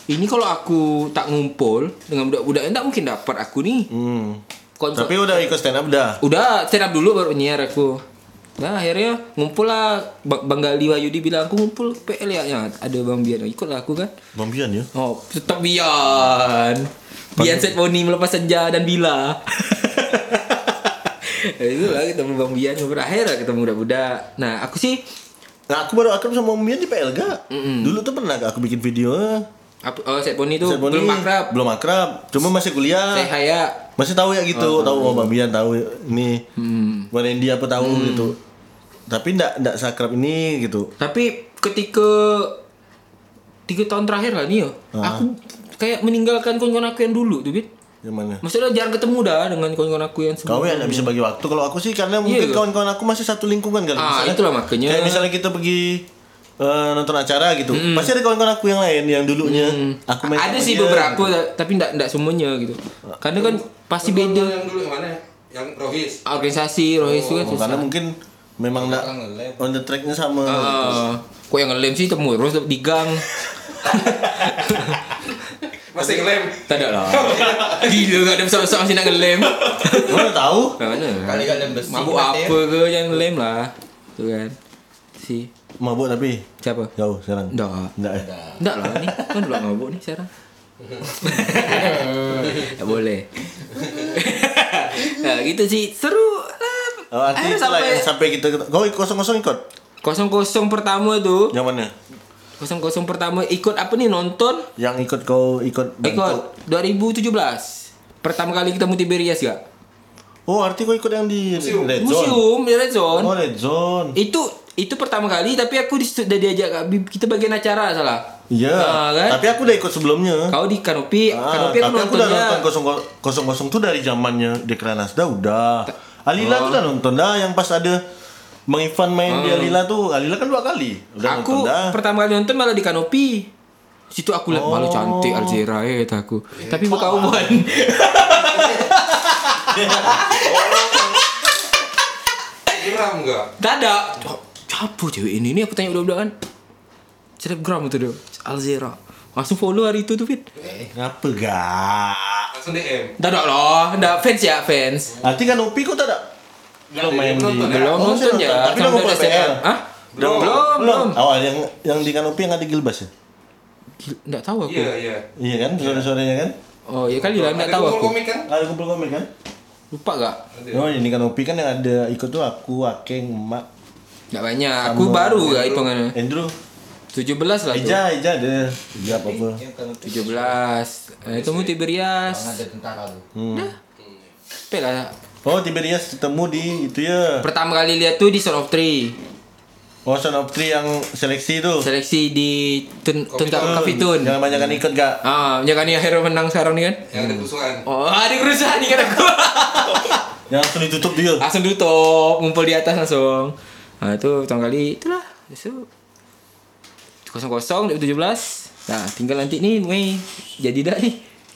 Speaker 1: ini kalau aku tak ngumpul dengan budak-budak tak mungkin dapat aku nih.
Speaker 2: Hmm.
Speaker 1: Konsep-
Speaker 2: Tapi udah ikut stand up dah.
Speaker 1: Udah stand up dulu baru nyiar aku. Nah akhirnya ngumpul lah Ba- Bang Gali Wahyudi bilang aku ngumpul PL ya. Ya, ada Bang Bian ikut lah aku kan.
Speaker 2: Bambian ya.
Speaker 1: Oh tetap Bian. Bian set poni melepas senja dan bila. itu lah ketemu Bang Bian ngobrol akhirnya ketemu budak-budak. Nah aku sih
Speaker 2: Nah, aku baru akrab sama Bambian di PL gak? Dulu tuh pernah gak aku bikin video?
Speaker 1: apa oh, set poni itu
Speaker 2: Saya Boni,
Speaker 1: belum akrab.
Speaker 2: Belum akrab. Cuma masih kuliah.
Speaker 1: Saya haya
Speaker 2: Masih tahu ya gitu, tahu oh, Bambian tahu ini.
Speaker 1: Hmm.
Speaker 2: Bang Randy apa tahu gitu. Tapi ndak ndak sakrab ini gitu.
Speaker 1: Tapi ketika tiga tahun terakhir lah nih ya,
Speaker 2: Ah.
Speaker 1: aku kayak meninggalkan kawan-kawan aku yang dulu tuh, Bit.
Speaker 2: Yang mana?
Speaker 1: Maksudnya jarang ketemu dah dengan kawan-kawan aku yang
Speaker 2: Kau
Speaker 1: sebelum.
Speaker 2: yang nggak bisa bagi waktu. Kalau aku sih karena mungkin
Speaker 1: Iya.
Speaker 2: kawan-kawan aku masih satu lingkungan kali.
Speaker 1: Ah,
Speaker 2: Misalnya-
Speaker 1: itulah makanya.
Speaker 2: Kayak misalnya kita pergi eh, nonton acara gitu, pasti ada kawan-kawan aku yang lain yang dulunya aku main
Speaker 1: Hmm. Ada
Speaker 2: sama
Speaker 1: sih
Speaker 2: dia,
Speaker 1: beberapa
Speaker 2: gitu.
Speaker 1: ta- tapi enggak enggak semuanya gitu. Karena kan pasti beda
Speaker 3: Yang dulu yang mana? Yang Rohis.
Speaker 1: organisasi rohis itu kan
Speaker 2: Oh,
Speaker 1: susah.
Speaker 2: karena mungkin memang nggak on the tracknya sama. gitu.
Speaker 1: Ah, kok yang ngelem sih temu terus di gang.
Speaker 3: Masih ngelem.
Speaker 1: Tak ada lah. Gila enggak ada besar-besar masih nak ngelem.
Speaker 2: Kau nggak tahu?
Speaker 1: Mana?
Speaker 6: Kali kan ada besi.
Speaker 1: Mabuk
Speaker 6: mati ya.
Speaker 1: apa ke yang ngelem lah. Tuh kan. Si
Speaker 2: Mabuk tapi
Speaker 1: siapa?
Speaker 2: jauh sekarang.
Speaker 1: Nggak.
Speaker 2: Nggak ya?
Speaker 1: Enggak lah nih, kan udah mabuk nih sekarang. ya boleh. nah, gitu sih seru. lah.
Speaker 2: Oh, arti
Speaker 1: Akhirnya
Speaker 2: itulah yang sampai kita kau kosong kosong ikut
Speaker 1: kosong kosong pertama tuh,
Speaker 2: yang mana?
Speaker 1: kosong kosong pertama ikut apa nih nonton?
Speaker 2: Yang ikut kau ikut
Speaker 1: Ikut 2017. Pertama kali ketemu Tiberias gak?
Speaker 2: Oh, arti kau ikut yang di
Speaker 3: Museum.
Speaker 2: Red Zone.
Speaker 1: Museum di Red Zone.
Speaker 2: Oh, Red Zone.
Speaker 1: Itu itu pertama kali tapi aku di situ udah diajak Kak Bib. kita bagian acara salah.
Speaker 2: Iya.
Speaker 1: Nah, kan?
Speaker 2: Tapi aku udah ikut sebelumnya.
Speaker 1: Kau di Kanopi,
Speaker 2: Ah,
Speaker 1: Kanopi aku
Speaker 2: tapi
Speaker 1: Eh,
Speaker 2: aku udah
Speaker 1: nontonnya.
Speaker 2: nonton kosong kosong kosong tuh dari zamannya Dekra Nasda udah.
Speaker 1: Oh.
Speaker 2: Alila tuh udah nonton dah yang pas ada Bang Ivan main di Alila tuh Alila kan dua kali udah
Speaker 1: Hmm. aku
Speaker 2: nonton dah.
Speaker 1: pertama kali nonton malah di Kanopi. Situ aku lihat malu
Speaker 2: Oh.
Speaker 1: cantik Alzira ya kata aku.
Speaker 2: Eh,
Speaker 1: Tapi buka umum.
Speaker 3: Geram enggak?
Speaker 1: Tak ada. Oh, Siapa cewek ini? Ini aku tanya udah-udah kan. Selebgram itu dia. Alzira. Langsung follow hari itu tuh Fit.
Speaker 2: Eh, Ngapa gak?
Speaker 3: Langsung DM.
Speaker 1: Tak ada lah. Tak fans ya fans.
Speaker 2: Arti kan Upi kok tak ada? Belum main di
Speaker 3: nonton ya?
Speaker 1: Belum
Speaker 2: Oh,
Speaker 1: nonton
Speaker 2: masih
Speaker 1: ya.
Speaker 2: nonton. Tapi
Speaker 1: Sama
Speaker 2: udah
Speaker 1: dari
Speaker 2: buat
Speaker 1: SNL.
Speaker 2: PL.
Speaker 1: Hah?
Speaker 3: Belum.
Speaker 1: Belum. Belum.
Speaker 2: Awal yang yang di kan Upi yang ada Gilbas ya?
Speaker 1: Tidak tahu aku.
Speaker 3: Iya, iya.
Speaker 2: Iya kan, sore-sorenya kan?
Speaker 1: Oh ya kali lah. Tidak
Speaker 3: Ada
Speaker 1: tahu aku.
Speaker 3: kumpul komik kan?
Speaker 2: Ada kumpul komik kan?
Speaker 1: Lupa gak?
Speaker 3: Ada.
Speaker 2: Oh, ini kan Upi kan yang ada ikut tuh aku, Akeng, Emak,
Speaker 1: Tidak banyak. Aku
Speaker 2: Sama-
Speaker 1: baru gak hitungannya.
Speaker 2: Andrew,
Speaker 1: 17 lah tuh.
Speaker 2: Eja, Eja ada. Eja apa-apa.
Speaker 6: Yang kalau
Speaker 1: 17. Eh, Ketemu
Speaker 6: Yang
Speaker 1: Tiberias.
Speaker 6: ada tentara tuh.
Speaker 1: Apa lah.
Speaker 2: Hmm. Oh, Tiberias ketemu di itu ya.
Speaker 1: Pertama kali lihat tuh di Son of Three.
Speaker 2: Oh, Son of Three yang seleksi tuh.
Speaker 1: Seleksi di Tun Tuntak Kafitun.
Speaker 2: Jangan banyak ikut gak?
Speaker 1: Ah, ya kan ya Hero menang sekarang nih kan?
Speaker 3: Yang ada kerusuhan.
Speaker 1: Oh, ada kerusuhan nih kan aku.
Speaker 2: Yang langsung ditutup dia.
Speaker 1: langsung tutup, ngumpul di atas langsung. Nah, itu pertama kali itulah. Itu kosong kosong 17. Nah, tinggal nanti nih Mei jadi dah nih.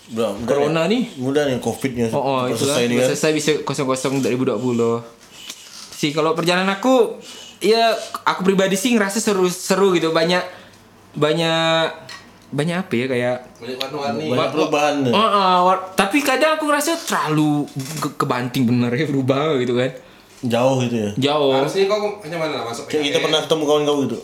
Speaker 2: Bro, mudah
Speaker 1: Corona nih.
Speaker 2: Mudah nih covidnya.
Speaker 1: Oh, oh
Speaker 2: Udah
Speaker 1: itu
Speaker 2: selesai nih kan.
Speaker 1: Selesai bisa kosong kosong 2020. Si kalau perjalanan aku ya aku pribadi sih ngerasa seru-seru gitu banyak banyak banyak apa ya kayak
Speaker 3: Banyak warna-warni.
Speaker 2: Banyak perubahan.
Speaker 3: Eh.
Speaker 2: nih.
Speaker 1: Oh, oh, war- tapi kadang aku ngerasa terlalu ke- kebanting bener ya berubah gitu kan.
Speaker 2: Jauh gitu ya.
Speaker 1: Jauh.
Speaker 3: Harusnya kau macam mana lah masuk
Speaker 2: Kayak kita
Speaker 1: Eh.
Speaker 3: PKS?
Speaker 2: pernah ketemu kawan kau gitu.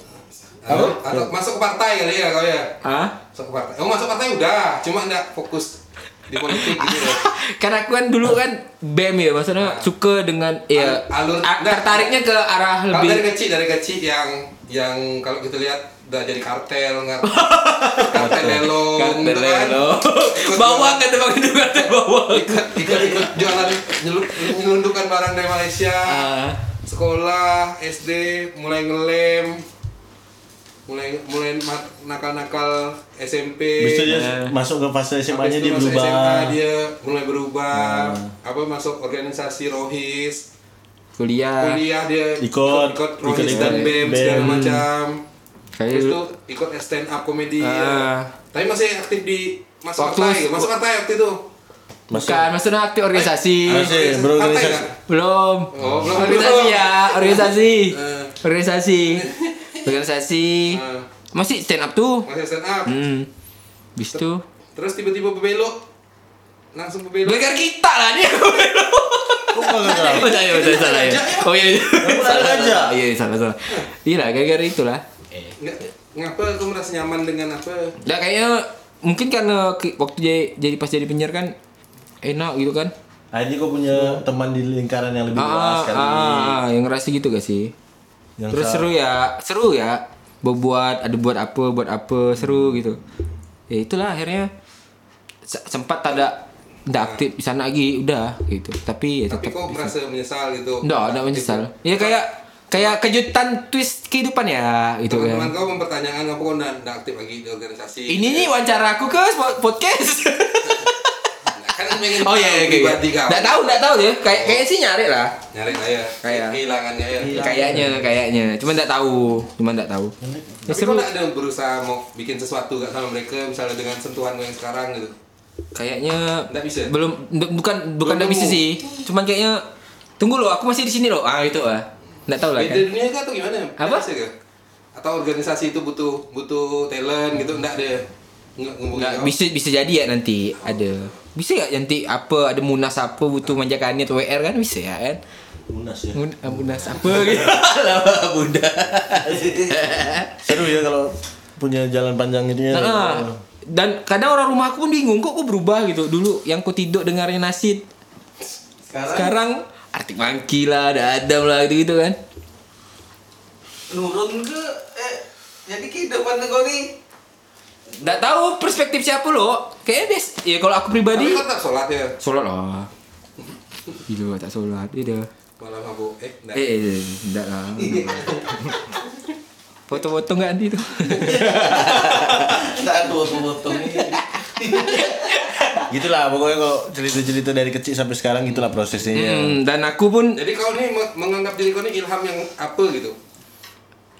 Speaker 3: Atau, atau masuk ke partai kali ya kau ya?
Speaker 1: Hah?
Speaker 3: Masuk ke partai. Oh, masuk partai udah, cuma enggak fokus di politik gitu loh.
Speaker 1: Karena aku kan dulu kan BEM ya, maksudnya suka dengan ya
Speaker 3: Alur-
Speaker 1: a-
Speaker 3: enggak.
Speaker 1: tertariknya ke arah
Speaker 3: Kalau dari
Speaker 1: lebih
Speaker 3: kecil dari kecil yang yang kalau kita lihat udah jadi kartel nggak kartel lelong gitu kan.
Speaker 1: Lelo.
Speaker 3: Ikut
Speaker 1: Bawang kata Bang Edu kata bawang.
Speaker 3: ikut ikut ikut jualan nyeluk- nyelundupkan barang dari Malaysia
Speaker 1: Ah.
Speaker 3: sekolah SD mulai ngelem mulai mulai ma- nakal-nakal SMP
Speaker 2: Bisa dia
Speaker 1: Eh.
Speaker 2: masuk ke fase
Speaker 3: Habis
Speaker 2: SMA-nya dia
Speaker 3: itu masuk SMA
Speaker 2: berubah. Ah.
Speaker 3: dia mulai berubah apa masuk organisasi rohis
Speaker 1: Kuliah.
Speaker 3: kuliah dia
Speaker 2: Ikut-
Speaker 3: ikut rohis
Speaker 2: ikut- ikut E
Speaker 3: dan bem
Speaker 2: BEM.
Speaker 3: segala macam
Speaker 1: Kayak
Speaker 3: terus
Speaker 1: dulu-
Speaker 3: tuh ikut stand up komedi ya.
Speaker 1: Ah.
Speaker 3: tapi masih aktif di masuk
Speaker 1: Waktu-
Speaker 3: partai masuk partai waktu itu
Speaker 2: Masuk.
Speaker 1: Bukan, maksudnya aktif organisasi.
Speaker 2: Masih berorganisasi.
Speaker 3: Partai kan? nggak?
Speaker 1: Eh, Belum.
Speaker 3: Oh, belum.
Speaker 1: Organisasi ya, organisasi.
Speaker 3: Eh.
Speaker 1: Organisasi. Organisasi.
Speaker 3: Eh.
Speaker 1: Masih stand up tuh.
Speaker 3: masih stand up
Speaker 1: Hmm. Bis tuh.
Speaker 3: terus tiba-tiba berbelok langsung berbelok
Speaker 1: Gegar kita lah dia.
Speaker 2: Kok kagak tahu?
Speaker 1: Oh, saya, saya, salah ya. Oh iya, iya. salah
Speaker 2: aja.
Speaker 1: salah. Iya, salah salah. Iya lah, gara-gara itulah.
Speaker 3: nggak ngapa aku merasa nyaman dengan apa
Speaker 1: Nah, kayaknya mungkin karena ki- waktu jadi, jadi pas jadi penyiar kan enak gitu kan.
Speaker 2: Akhirnya Ah, kau punya teman di lingkaran yang lebih
Speaker 1: Ah,
Speaker 2: luas kali.
Speaker 1: ah, yang ngerasa gitu gak sih?
Speaker 2: Yang
Speaker 1: Terus
Speaker 2: sa-
Speaker 1: seru ya, seru ya. Berbuat, ada buat apa, buat apa, seru gitu. Ya itulah akhirnya se- sempat tak ada tidak aktif di sana lagi udah gitu. Tapi ya
Speaker 3: tapi
Speaker 1: tetap di
Speaker 3: kok
Speaker 1: sana.
Speaker 3: merasa menyesal gitu
Speaker 1: Nggak, nggak menyesal. Ya kayak kayak kejutan twist kehidupan ya gitu
Speaker 3: teman-teman
Speaker 1: kan.
Speaker 3: kau mempertanyakan kenapa kau nggak nggak aktif lagi di organisasi gitu ya.
Speaker 1: Ini nih wawancara aku ke spo- podcast.
Speaker 3: Nah, kan pengen
Speaker 1: oh iya iya
Speaker 3: tahu
Speaker 1: iya.
Speaker 3: pribadi kau
Speaker 1: Nggak tahu, nggak tahu ya. Kayak kayak sih nyari lah.
Speaker 3: nyari saya
Speaker 1: Kayak- Iya.
Speaker 3: kehilangannya ya
Speaker 1: Kayaknya, kayaknya. Cuma nggak tahu, cuma nggak tahu. Ya,
Speaker 3: tapi
Speaker 1: seru.
Speaker 3: kau nggak ada berusaha mau bikin sesuatu gak sama mereka misalnya dengan sentuhan kau yang sekarang gitu
Speaker 1: Kayaknya
Speaker 3: Nggak bisa?
Speaker 1: belum nggak- bukan bukan nggak bisa
Speaker 3: nemu.
Speaker 1: sih. Cuman kayaknya tunggu loh, aku masih di sini loh. Ah itu ah. Nggak tahu lah
Speaker 3: beda
Speaker 1: kan.
Speaker 3: dunia kah atau gimana
Speaker 1: Apa?
Speaker 3: Bisa kah? atau organisasi itu butuh butuh talent gitu nggak ada nggak ngumpulin
Speaker 1: Nggak,
Speaker 3: kau?
Speaker 1: bisa bisa jadi ya nanti ada. Bisa nggak nanti apa ada munas apa butuh manjakannya atau WR kan bisa ya kan.
Speaker 2: Lunas ya.
Speaker 1: Mun- ah, Munas apa gitu. Lama Bunda.
Speaker 2: Seru ya kalau punya jalan panjang gitu ya.
Speaker 1: Nah, dan kadang orang rumah aku pun bingung kok kok berubah gitu. Dulu yang ku tidur dengarnya Nasid.
Speaker 5: Sekarang
Speaker 1: Sekarang Artik Mangki lah, ada Adam lah gitu-gitu kan.
Speaker 5: nurun ke eh jadi kehidupan kau nih
Speaker 1: Nggak tahu
Speaker 3: kan
Speaker 1: perspektif siapa loh. Kayaknya des, ya kalau aku pribadi
Speaker 3: tapi kau tetap sholat ya
Speaker 1: sholat lah. Gila tak solat dia dah.
Speaker 3: malah mabuk eh enggak.
Speaker 1: Eh, eh, enggak lah. Foto-foto enggak nanti tuh.
Speaker 5: Tak dua potong ini.
Speaker 2: Gitulah pokoknya kalau cerita-cerita dari kecil sampai sekarang gitulah prosesnya.
Speaker 1: Hmm, dan aku pun
Speaker 3: jadi kau ni me- menganggap diri kau ni ilham yang apa gitu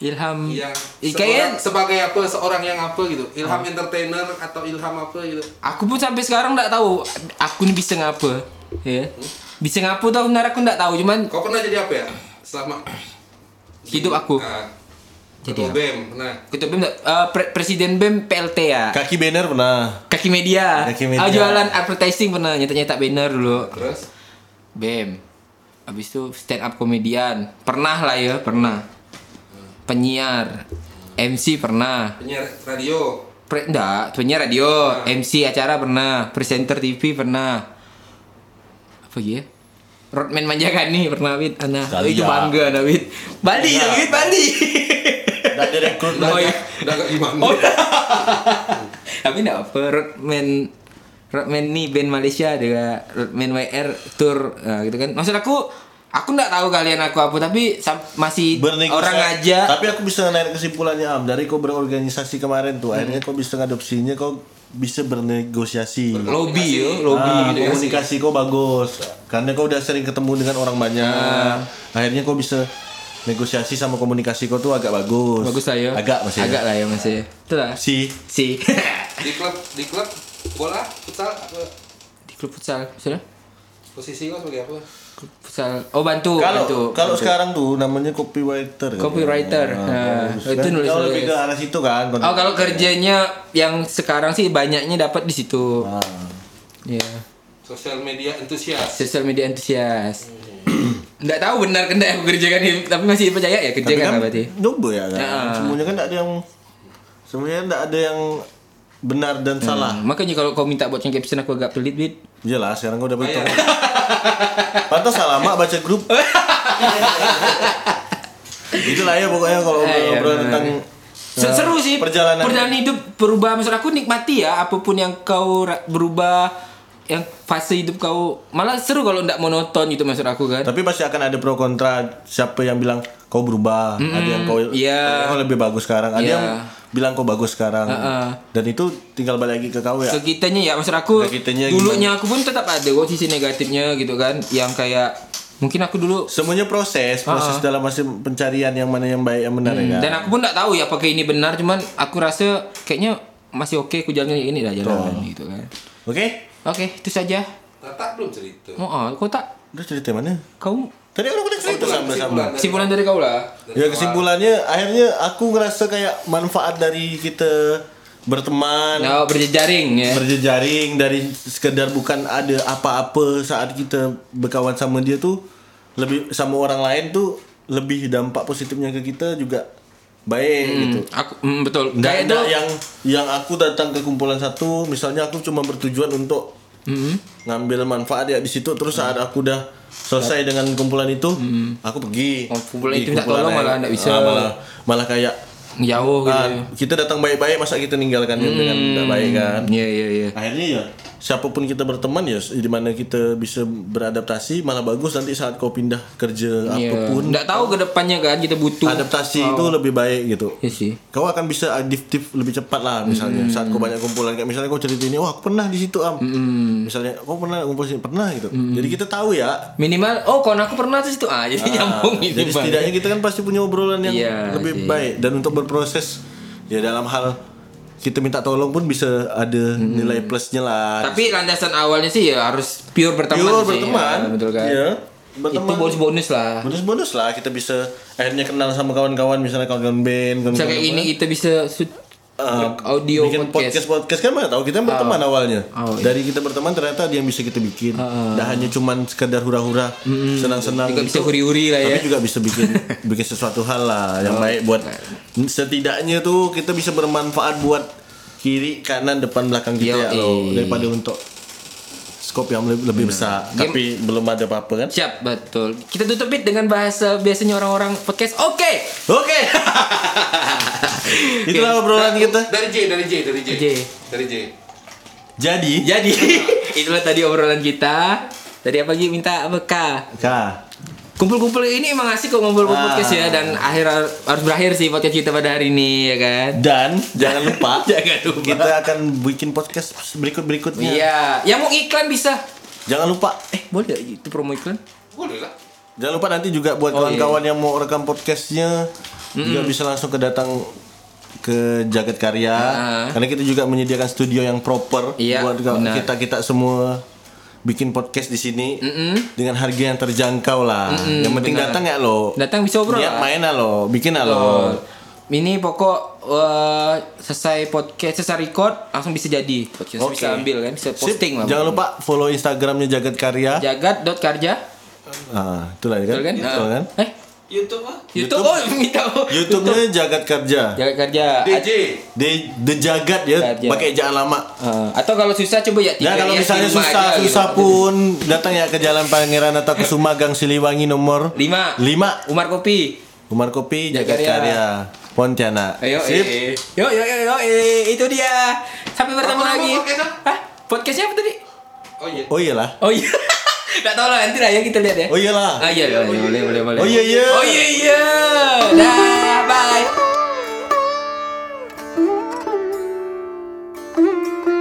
Speaker 1: ilham
Speaker 3: yang
Speaker 1: Eh,
Speaker 3: seorang-
Speaker 1: kayaknya Hmm.
Speaker 3: sebagai apa seorang yang apa gitu ilham entertainer atau ilham apa gitu
Speaker 1: aku pun sampai sekarang enggak tahu aku ni bisa ngapa. Ya. Bisa ngapa tahu benar aku enggak tahu cuman
Speaker 3: kau pernah jadi apa ya selama
Speaker 1: hidup aku.
Speaker 3: Ah,
Speaker 1: Jadi
Speaker 3: ketua
Speaker 1: apa?
Speaker 3: bem pernah
Speaker 1: Ketua BEM tak- eh, pre- presiden BEM PLT ya.
Speaker 2: Kaki banner pernah.
Speaker 1: Kaki media.
Speaker 2: Kaki media.
Speaker 1: Ah, jualan advertising pernah nyetak-nyetak banner dulu.
Speaker 3: terus
Speaker 1: BEM. Habis itu stand up komedian. Pernah lah ya, pernah. Penyiar. MC pernah.
Speaker 3: penyiar radio
Speaker 1: Pre enggak, penyiar radio, MC acara pernah, presenter TV pernah. Apa lagi ya? Rodman Manjagani pernah Wid. Ana,
Speaker 2: Sekali
Speaker 1: itu
Speaker 2: ya.
Speaker 1: bangga nah, Wid. Bali dah Wid, Bali.
Speaker 2: Dan direkrut
Speaker 1: Oh, iya.
Speaker 3: dah agak gimana
Speaker 1: Tapi enggak apa, Rodman Rodman nih band Malaysia ada Rodman WR tour eh, gitu kan. Maksud aku aku enggak tahu kalian aku apa tapi sam- masih
Speaker 2: Bernegosiasi.
Speaker 1: orang aja
Speaker 2: Tapi aku bisa naik kesimpulannya Am dari kau berorganisasi kemarin tuh akhirnya kau bisa ngadopsinya kau bisa bernegosiasi.
Speaker 1: lobby yo, lobby
Speaker 2: Ah,
Speaker 1: gitu ya.
Speaker 2: komunikasi kau bagus karena kau udah sering ketemu dengan orang
Speaker 1: Ah.
Speaker 2: banyak. Akhirnya kau bisa negosiasi sama komunikasi kau tuh agak bagus.
Speaker 1: Bagus lah ya.
Speaker 2: Agak masih.
Speaker 1: Agak lah ya masih. Itu lah.
Speaker 2: Si
Speaker 1: Si.
Speaker 3: di klub di klub bola futsal apa
Speaker 1: Di klub futsal, maksudnya?
Speaker 3: posisi kau sebagai apa
Speaker 1: Klub futsal. Oh, bantu, bantu.
Speaker 2: kalau kalau
Speaker 1: bantu.
Speaker 2: sekarang tuh namanya copywriter. kan?
Speaker 1: Copywriter. Nah,
Speaker 2: bagus.
Speaker 1: itu
Speaker 2: Kan
Speaker 1: nulis-
Speaker 2: kau lebih
Speaker 1: nulis.
Speaker 2: ke arah situ kan.
Speaker 1: Oh, kalau kerjanya yang sekarang sih banyaknya dapat di situ.
Speaker 2: Ah.
Speaker 1: Ya.
Speaker 3: sosial media entusias
Speaker 1: Social media antusias. Nggak tahu benar kan aku kerjakan ini, tapi masih percaya ya
Speaker 2: Tapi kan
Speaker 1: kerjakan lah berarti.
Speaker 2: Nyoba ya kan.
Speaker 1: Ya.
Speaker 2: Semuanya kan tidak ada yang semuanya tidak ada yang benar dan salah.
Speaker 1: Hmm, Makanya kalau kau minta buatkan caption aku agak pelit, Wid.
Speaker 2: Jelas sekarang gue udah
Speaker 1: Oh, iya.
Speaker 2: betul. Pantas salah mak baca grup. Itulah ya pokoknya kalau
Speaker 1: Ya, ya,
Speaker 2: ngobrol
Speaker 1: benar.
Speaker 2: tentang
Speaker 1: Se-
Speaker 2: eh,
Speaker 1: seru sih
Speaker 2: perjalanan.
Speaker 1: hidup berubah maksud aku nikmati ya apapun yang kau ra- berubah yang fase hidup kau malah seru kalau ndak monoton gitu maksud aku kan
Speaker 2: Tapi pasti akan ada pro kontra. Siapa yang bilang kau berubah, ada yang kau
Speaker 1: iya.
Speaker 2: kau lebih bagus sekarang, ada
Speaker 1: Iya.
Speaker 2: yang bilang kau bagus sekarang.
Speaker 1: Heeh.
Speaker 2: Dan itu tinggal balik lagi ke kau ya.
Speaker 1: Sekitanya ya maksud aku
Speaker 2: Sekitanya
Speaker 1: dulunya aku pun tetap ada kok sisi negatifnya gitu kan yang kayak mungkin aku dulu
Speaker 2: Semuanya proses, proses dalam masa pencarian yang mana yang baik yang benar ya. kan?
Speaker 1: Mm, dan aku pun nggak tahu ya apakah ini benar cuman aku rasa kayaknya masih oke aku jalan ini lah jalan gitu kan
Speaker 2: Oke,
Speaker 1: oke itu saja
Speaker 3: Tata belum cerita
Speaker 1: oh, oh kau tak
Speaker 2: udah cerita mana?
Speaker 1: kau
Speaker 2: Tadi
Speaker 1: Oh,
Speaker 2: orang udah cerita
Speaker 3: Kesimpulan-
Speaker 2: sama-sama.
Speaker 3: kesimpulan.
Speaker 1: simpulan dari kau lah
Speaker 2: Ya kesimpulannya akhirnya aku ngerasa kayak manfaat dari kita berteman,
Speaker 1: nah berjejaring ya
Speaker 2: berjejaring dari sekedar bukan ada apa-apa saat kita berkawan sama dia tuh lebih sama orang lain tuh lebih dampak positifnya ke kita juga baik gitu.
Speaker 1: aku mm, betul
Speaker 2: Nggak ya.
Speaker 1: kayak
Speaker 2: ada
Speaker 1: itu
Speaker 2: yang yang aku datang ke kumpulan satu, misalnya aku cuma bertujuan untuk
Speaker 1: Hmm.
Speaker 2: ngambil manfaat ya di situ. Terus saat aku udah selesai dengan kumpulan itu, aku pergi.
Speaker 1: Oh, kumpulan
Speaker 2: Pergi
Speaker 1: itu minta tolong
Speaker 2: lain.
Speaker 1: malah nggak bisa.
Speaker 2: Ah, malah malah kayak
Speaker 1: jauh gitu
Speaker 2: ah, kita datang baik-baik masa kita ninggalkannya dengan
Speaker 1: Hmm.
Speaker 2: tidak baik kan.
Speaker 1: Iya iya iya.
Speaker 2: Akhirnya ya siapapun kita berteman ya di mana kita bisa beradaptasi malah bagus nanti saat kau pindah kerja apapun
Speaker 1: Iya. Nggak tahu ke depannya kan kita butuh.
Speaker 2: adaptasi itu lebih baik gitu
Speaker 1: Iya Hmm. sih.
Speaker 2: kau akan bisa adaptif lebih cepat lah misalnya saat kau banyak kumpulan kayak misalnya kau cerita ini wah aku pernah di situ am
Speaker 1: Hmm.
Speaker 2: misalnya kau pernah kumpul sini pernah gitu jadi kita tahu ya
Speaker 1: Minimal oh kon aku pernah tuh situ ah jadi nyambung minimal.
Speaker 2: jadi setidaknya kita kan pasti punya obrolan yang
Speaker 1: Iya
Speaker 2: lebih
Speaker 1: sih.
Speaker 2: baik dan untuk berproses ya dalam hal kita minta tolong pun bisa ada
Speaker 1: Hmm.
Speaker 2: nilai plusnya lah
Speaker 1: Tapi landasan awalnya sih ya harus pure berteman
Speaker 2: Pure
Speaker 1: sih.
Speaker 2: berteman
Speaker 1: Ya, betul kan?
Speaker 2: Iya, berteman.
Speaker 1: Itu bonus-bonus lah.
Speaker 2: bonus-bonus lah kita bisa akhirnya kenal sama kawan-kawan misalnya kawan-kawan band kawan-kawan
Speaker 1: Bisa kayak ini
Speaker 2: apa.
Speaker 1: kita bisa shoot
Speaker 2: Eh,
Speaker 1: audio
Speaker 2: bikin
Speaker 1: podcast.
Speaker 2: podcast podcast kan mana tahu kita berteman awalnya
Speaker 1: Oh, iya. Ah,
Speaker 2: dari kita berteman ternyata ada yang bisa kita bikin Nggak hanya cuman sekedar hura-hura senang-senang
Speaker 1: Juga bisa
Speaker 2: gitu.
Speaker 1: huri-huri lah ya.
Speaker 2: tapi juga bisa bikin bikin sesuatu hal lah yang baik buat setidaknya tuh kita bisa bermanfaat buat kiri kanan depan belakang kita
Speaker 1: Yoi.
Speaker 2: ya loh daripada untuk skop yang lebih, lebih besar
Speaker 1: Game-
Speaker 2: tapi belum ada apa-apa kan
Speaker 1: Siap, betul. Kita tutup Bit, dengan bahasa biasanya orang-orang podcast. Oke.
Speaker 2: Oke. Itulah obrolan kita.
Speaker 3: dari J dari J dari J
Speaker 1: J.
Speaker 3: dari J
Speaker 2: Jadi, Ya.
Speaker 1: Nah, Jadi, itulah tadi obrolan kita. Dari apa lagi minta apa K?
Speaker 2: Kak.
Speaker 1: Kumpul-kumpul ini emang asik kok ngumpul-ngumpul
Speaker 2: Ah.
Speaker 1: podcast ya dan akhir harus berakhir sih podcast kita pada hari ini ya kan.
Speaker 2: Dan jangan lupa
Speaker 1: Jangan lupa.
Speaker 2: kita akan bikin podcast berikut-berikutnya.
Speaker 1: Iya, yang mau iklan bisa.
Speaker 2: Jangan lupa
Speaker 1: Eh, boleh gak itu promo iklan?
Speaker 3: Boleh lah.
Speaker 2: Jangan lupa nanti juga buat
Speaker 1: Oh,
Speaker 2: kawan-kawan yang mau rekam podcastnya juga bisa langsung ke datang ke Jagat Karya
Speaker 1: Ah.
Speaker 2: karena kita juga menyediakan studio yang proper
Speaker 1: Iya,
Speaker 2: buat ka-
Speaker 1: benar.
Speaker 2: kita kita semua bikin podcast di sini dengan harga yang terjangkau lah. yang penting
Speaker 1: benar.
Speaker 2: datang ya lo.
Speaker 1: Datang bisa obrol
Speaker 2: Niat
Speaker 1: lah.
Speaker 2: main lah lo, bikin lah lo.
Speaker 1: Oh. Ini pokok eh, selesai podcast, selesai record langsung bisa jadi. Podcast
Speaker 2: Oke.
Speaker 1: bisa ambil kan, bisa
Speaker 2: Sip.
Speaker 1: posting lah.
Speaker 2: Jangan lupa follow Instagramnya Jagat Karya.
Speaker 1: jagat.karja.
Speaker 2: Ah, itulah kan?
Speaker 1: Betul kan?
Speaker 2: Betul kan?
Speaker 1: Eh,
Speaker 5: YouTube mah
Speaker 1: YouTube,
Speaker 2: YouTube.
Speaker 1: oh minta
Speaker 2: YouTube-nya Jagat Kerja.
Speaker 1: Jagat Karja.
Speaker 3: DJ.
Speaker 2: The, The Jagat ya,
Speaker 1: Kerja.
Speaker 2: pakai jangan lama.
Speaker 1: Eh, atau kalau susah coba ya
Speaker 2: Ya
Speaker 1: tiga
Speaker 2: kalau
Speaker 1: Rias
Speaker 2: misalnya
Speaker 1: di rumah
Speaker 2: susah
Speaker 1: aja gitu.
Speaker 2: susah pun datang ya ke Jalan Pangeran atau ke Gang Siliwangi nomor
Speaker 1: Lima.
Speaker 2: 5
Speaker 1: Umar Kopi.
Speaker 2: Umar Kopi Jagat
Speaker 1: Jakarta.
Speaker 2: Karya Pontianak.
Speaker 1: Ayo,
Speaker 2: Sip.
Speaker 1: eh. Yo, yo, yo, yo, eh. itu dia. Sampai bertemu
Speaker 3: Apa nama
Speaker 1: lagi.
Speaker 3: podcastnya?
Speaker 1: Hah? Podcastnya apa tadi?
Speaker 3: Oh iya.
Speaker 2: Oh iyalah.
Speaker 1: Oh iya. Enggak tahu lah nanti lah ya kita lihat ya.
Speaker 2: Oh iyalah.
Speaker 1: Ah iya, iya, boleh, boleh, boleh, boleh.
Speaker 2: Oh iya iya.
Speaker 1: Oh iya, iya. Dah, bye.
Speaker 7: Thank